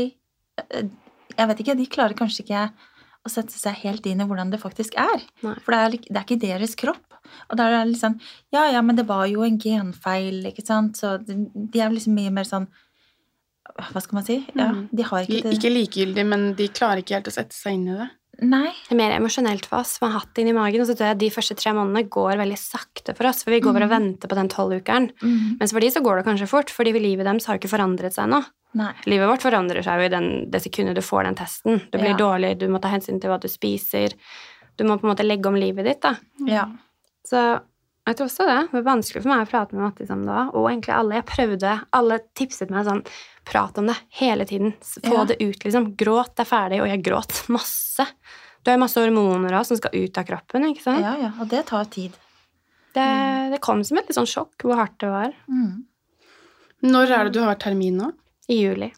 Speaker 1: eh, jeg vet ikke, de klarer kanskje ikke å sette seg helt inn i hvordan det faktisk er.
Speaker 3: Nei.
Speaker 1: For det er, lik- det er ikke deres kropp. Og da er det litt sånn Ja, ja, men det var jo en genfeil, ikke sant. Så de de er jo liksom mye mer sånn Hva skal man si? Ja,
Speaker 2: Mm.
Speaker 1: de har ikke
Speaker 2: Ikke,
Speaker 1: det
Speaker 2: ikke likegyldig, men de klarer ikke helt å sette seg inn i det.
Speaker 1: Nei.
Speaker 3: Det er mer emosjonelt for oss. Man har hatt det inni magen, og så tror jeg de første tre månedene går veldig sakte for oss, for vi går bare og venter på den tolvukeren.
Speaker 1: Mm.
Speaker 3: Mens for de så går det kanskje fort, fordi livet deres har jo ikke forandret seg ennå.
Speaker 1: Nei.
Speaker 3: Livet vårt forandrer seg jo i den, det sekundet du får den testen. Du blir
Speaker 1: Ja.
Speaker 3: dårlig, du må ta hensyn til hva du spiser. Du må på en måte legge om livet ditt, da.
Speaker 1: Ja.
Speaker 3: Så jeg tror også det. Det var vanskelig for meg å prate med Mattis om det òg. Og egentlig alle jeg prøvde, alle tipset meg sånn Prat om det hele tiden. Få
Speaker 1: Ja.
Speaker 3: det ut, liksom. Gråt, det er ferdig. Og jeg gråt masse. Du har jo masse hormoner også, som skal ut av kroppen. ikke sant?
Speaker 1: ja, ja. Og det tar tid.
Speaker 3: Det, det kom som et litt sånn sjokk hvor hardt det var
Speaker 1: Mm.
Speaker 2: Når er det du har termin nå?
Speaker 3: i juli.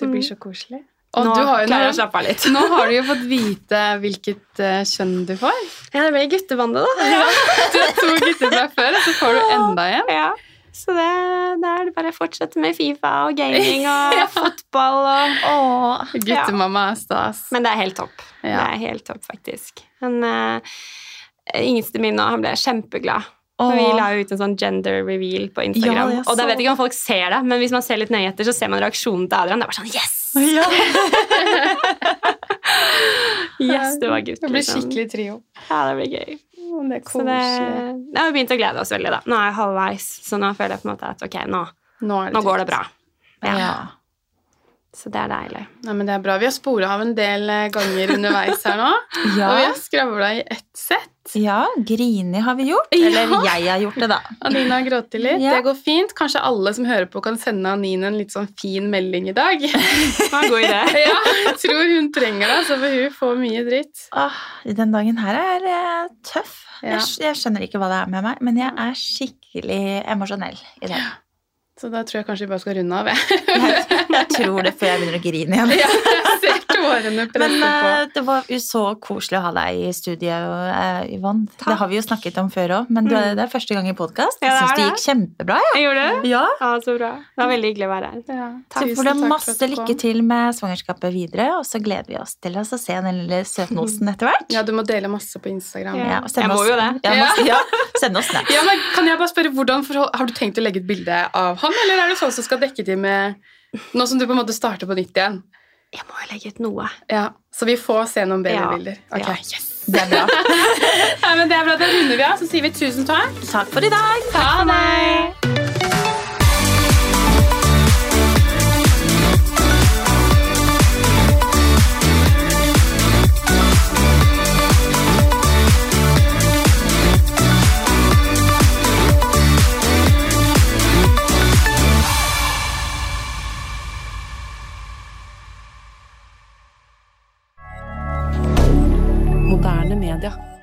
Speaker 2: Det blir så koselig. Og
Speaker 3: Mm. Nå
Speaker 2: du har jo,
Speaker 3: klarer jeg å
Speaker 2: nå,
Speaker 3: slappe av litt.
Speaker 2: nå har du jo fått vite hvilket eh, kjønn du får.
Speaker 3: Ja, det blir guttebandet, da.
Speaker 2: Du har to gutter fra før, og så får du enda en.
Speaker 3: Ja, så det, det er det bare å fortsette med Fifa og gaming og fotball og
Speaker 2: Guttemamma er stas.
Speaker 3: Men det er helt topp. Det
Speaker 2: Ja.
Speaker 3: er helt topp, faktisk. Han uh, yngste min nå, han ble kjempeglad.
Speaker 1: Åh.
Speaker 3: For Vi la jo ut en sånn gender reveal på Instagram.
Speaker 1: Ja, jeg
Speaker 3: og da
Speaker 1: så
Speaker 3: vet jeg ikke om folk ser det, men hvis man ser litt nøye etter, så ser man reaksjonen til Adrian. Det er bare sånn Yes!
Speaker 1: Ja.
Speaker 3: yes det var gutt.
Speaker 2: Det blir
Speaker 3: liksom.
Speaker 2: skikkelig trio.
Speaker 3: Ja, det blir gøy.
Speaker 2: Det er
Speaker 3: Så det, det har vi begynt å glede oss veldig, da. Nå er jeg halvveis, så nå føler jeg på en måte at ok, nå,
Speaker 2: Nå, er
Speaker 3: nå
Speaker 2: trygt.
Speaker 3: går det bra. Ja.
Speaker 1: ja.
Speaker 3: Så det er deilig.
Speaker 2: Nei, men det er bra. Vi har sporet av en del eh, ganger underveis her nå. Og vi
Speaker 1: Ja.
Speaker 2: har skravla i ett sett.
Speaker 1: ja. Grini har vi gjort.
Speaker 2: Ja.
Speaker 1: Eller jeg har gjort det, da.
Speaker 2: Anine har grått litt.
Speaker 1: Ja.
Speaker 2: Det går fint. Kanskje alle som hører på, kan sende Anine en litt sånn fin melding i dag.
Speaker 3: Det var en god idé.
Speaker 2: ja, jeg tror hun trenger det, så får hun få mye dritt.
Speaker 1: Åh, Ah, den dagen her er eh, tøff.
Speaker 2: Ja.
Speaker 1: Jeg, sk- jeg skjønner ikke hva det er med meg, men jeg er skikkelig emosjonell i dag.
Speaker 2: Så da tror jeg kanskje vi bare skal runde av. jeg.
Speaker 1: Jeg, jeg tror det før jeg begynner å grine igjen.
Speaker 2: Ja, jeg ser tårene
Speaker 1: Men
Speaker 2: presse på.
Speaker 1: eh, det var jo så koselig å ha deg i studio, eh, Yvonne. Det har vi jo snakket om før òg, men du,
Speaker 3: Mm.
Speaker 1: det er første gang i podkast.
Speaker 3: Ja,
Speaker 1: Jeg syns
Speaker 3: det
Speaker 1: det
Speaker 3: er
Speaker 1: gikk kjempebra. jeg.
Speaker 3: Jeg gjorde det.
Speaker 1: Ja.
Speaker 3: Ja, så bra. Det var veldig hyggelig å være her.
Speaker 2: Ja,
Speaker 1: Så
Speaker 2: tusen
Speaker 1: får du
Speaker 2: takk
Speaker 1: masse
Speaker 2: at du
Speaker 1: lykke
Speaker 2: kom.
Speaker 1: til med svangerskapet videre, og så gleder vi oss til å se den lille søtnosen etter hvert.
Speaker 2: Ja, du må dele masse på Instagram.
Speaker 3: Ja.
Speaker 2: Ja.
Speaker 1: og send
Speaker 3: Jeg må
Speaker 1: oss-
Speaker 3: jo det.
Speaker 1: Ja, må- ja, send oss snap.
Speaker 2: men kan jeg bare spørre, hvordan forhold, Har du tenkt å legge et bilde av han, eller er det sånn som skal dekke til med Nå som du på en måte starter på nytt igjen?
Speaker 3: Jeg må jo legge ut noe.
Speaker 2: Ja, Så vi får se noen bedre
Speaker 3: Ja.
Speaker 2: bilder. Ok,
Speaker 3: Ja.
Speaker 2: yes.
Speaker 1: Det er bra.
Speaker 2: Nei, men det er bra, Da runder vi av, så sier vi tusen takk.
Speaker 1: Takk for i dag.
Speaker 2: Ha det!
Speaker 4: Moderne media.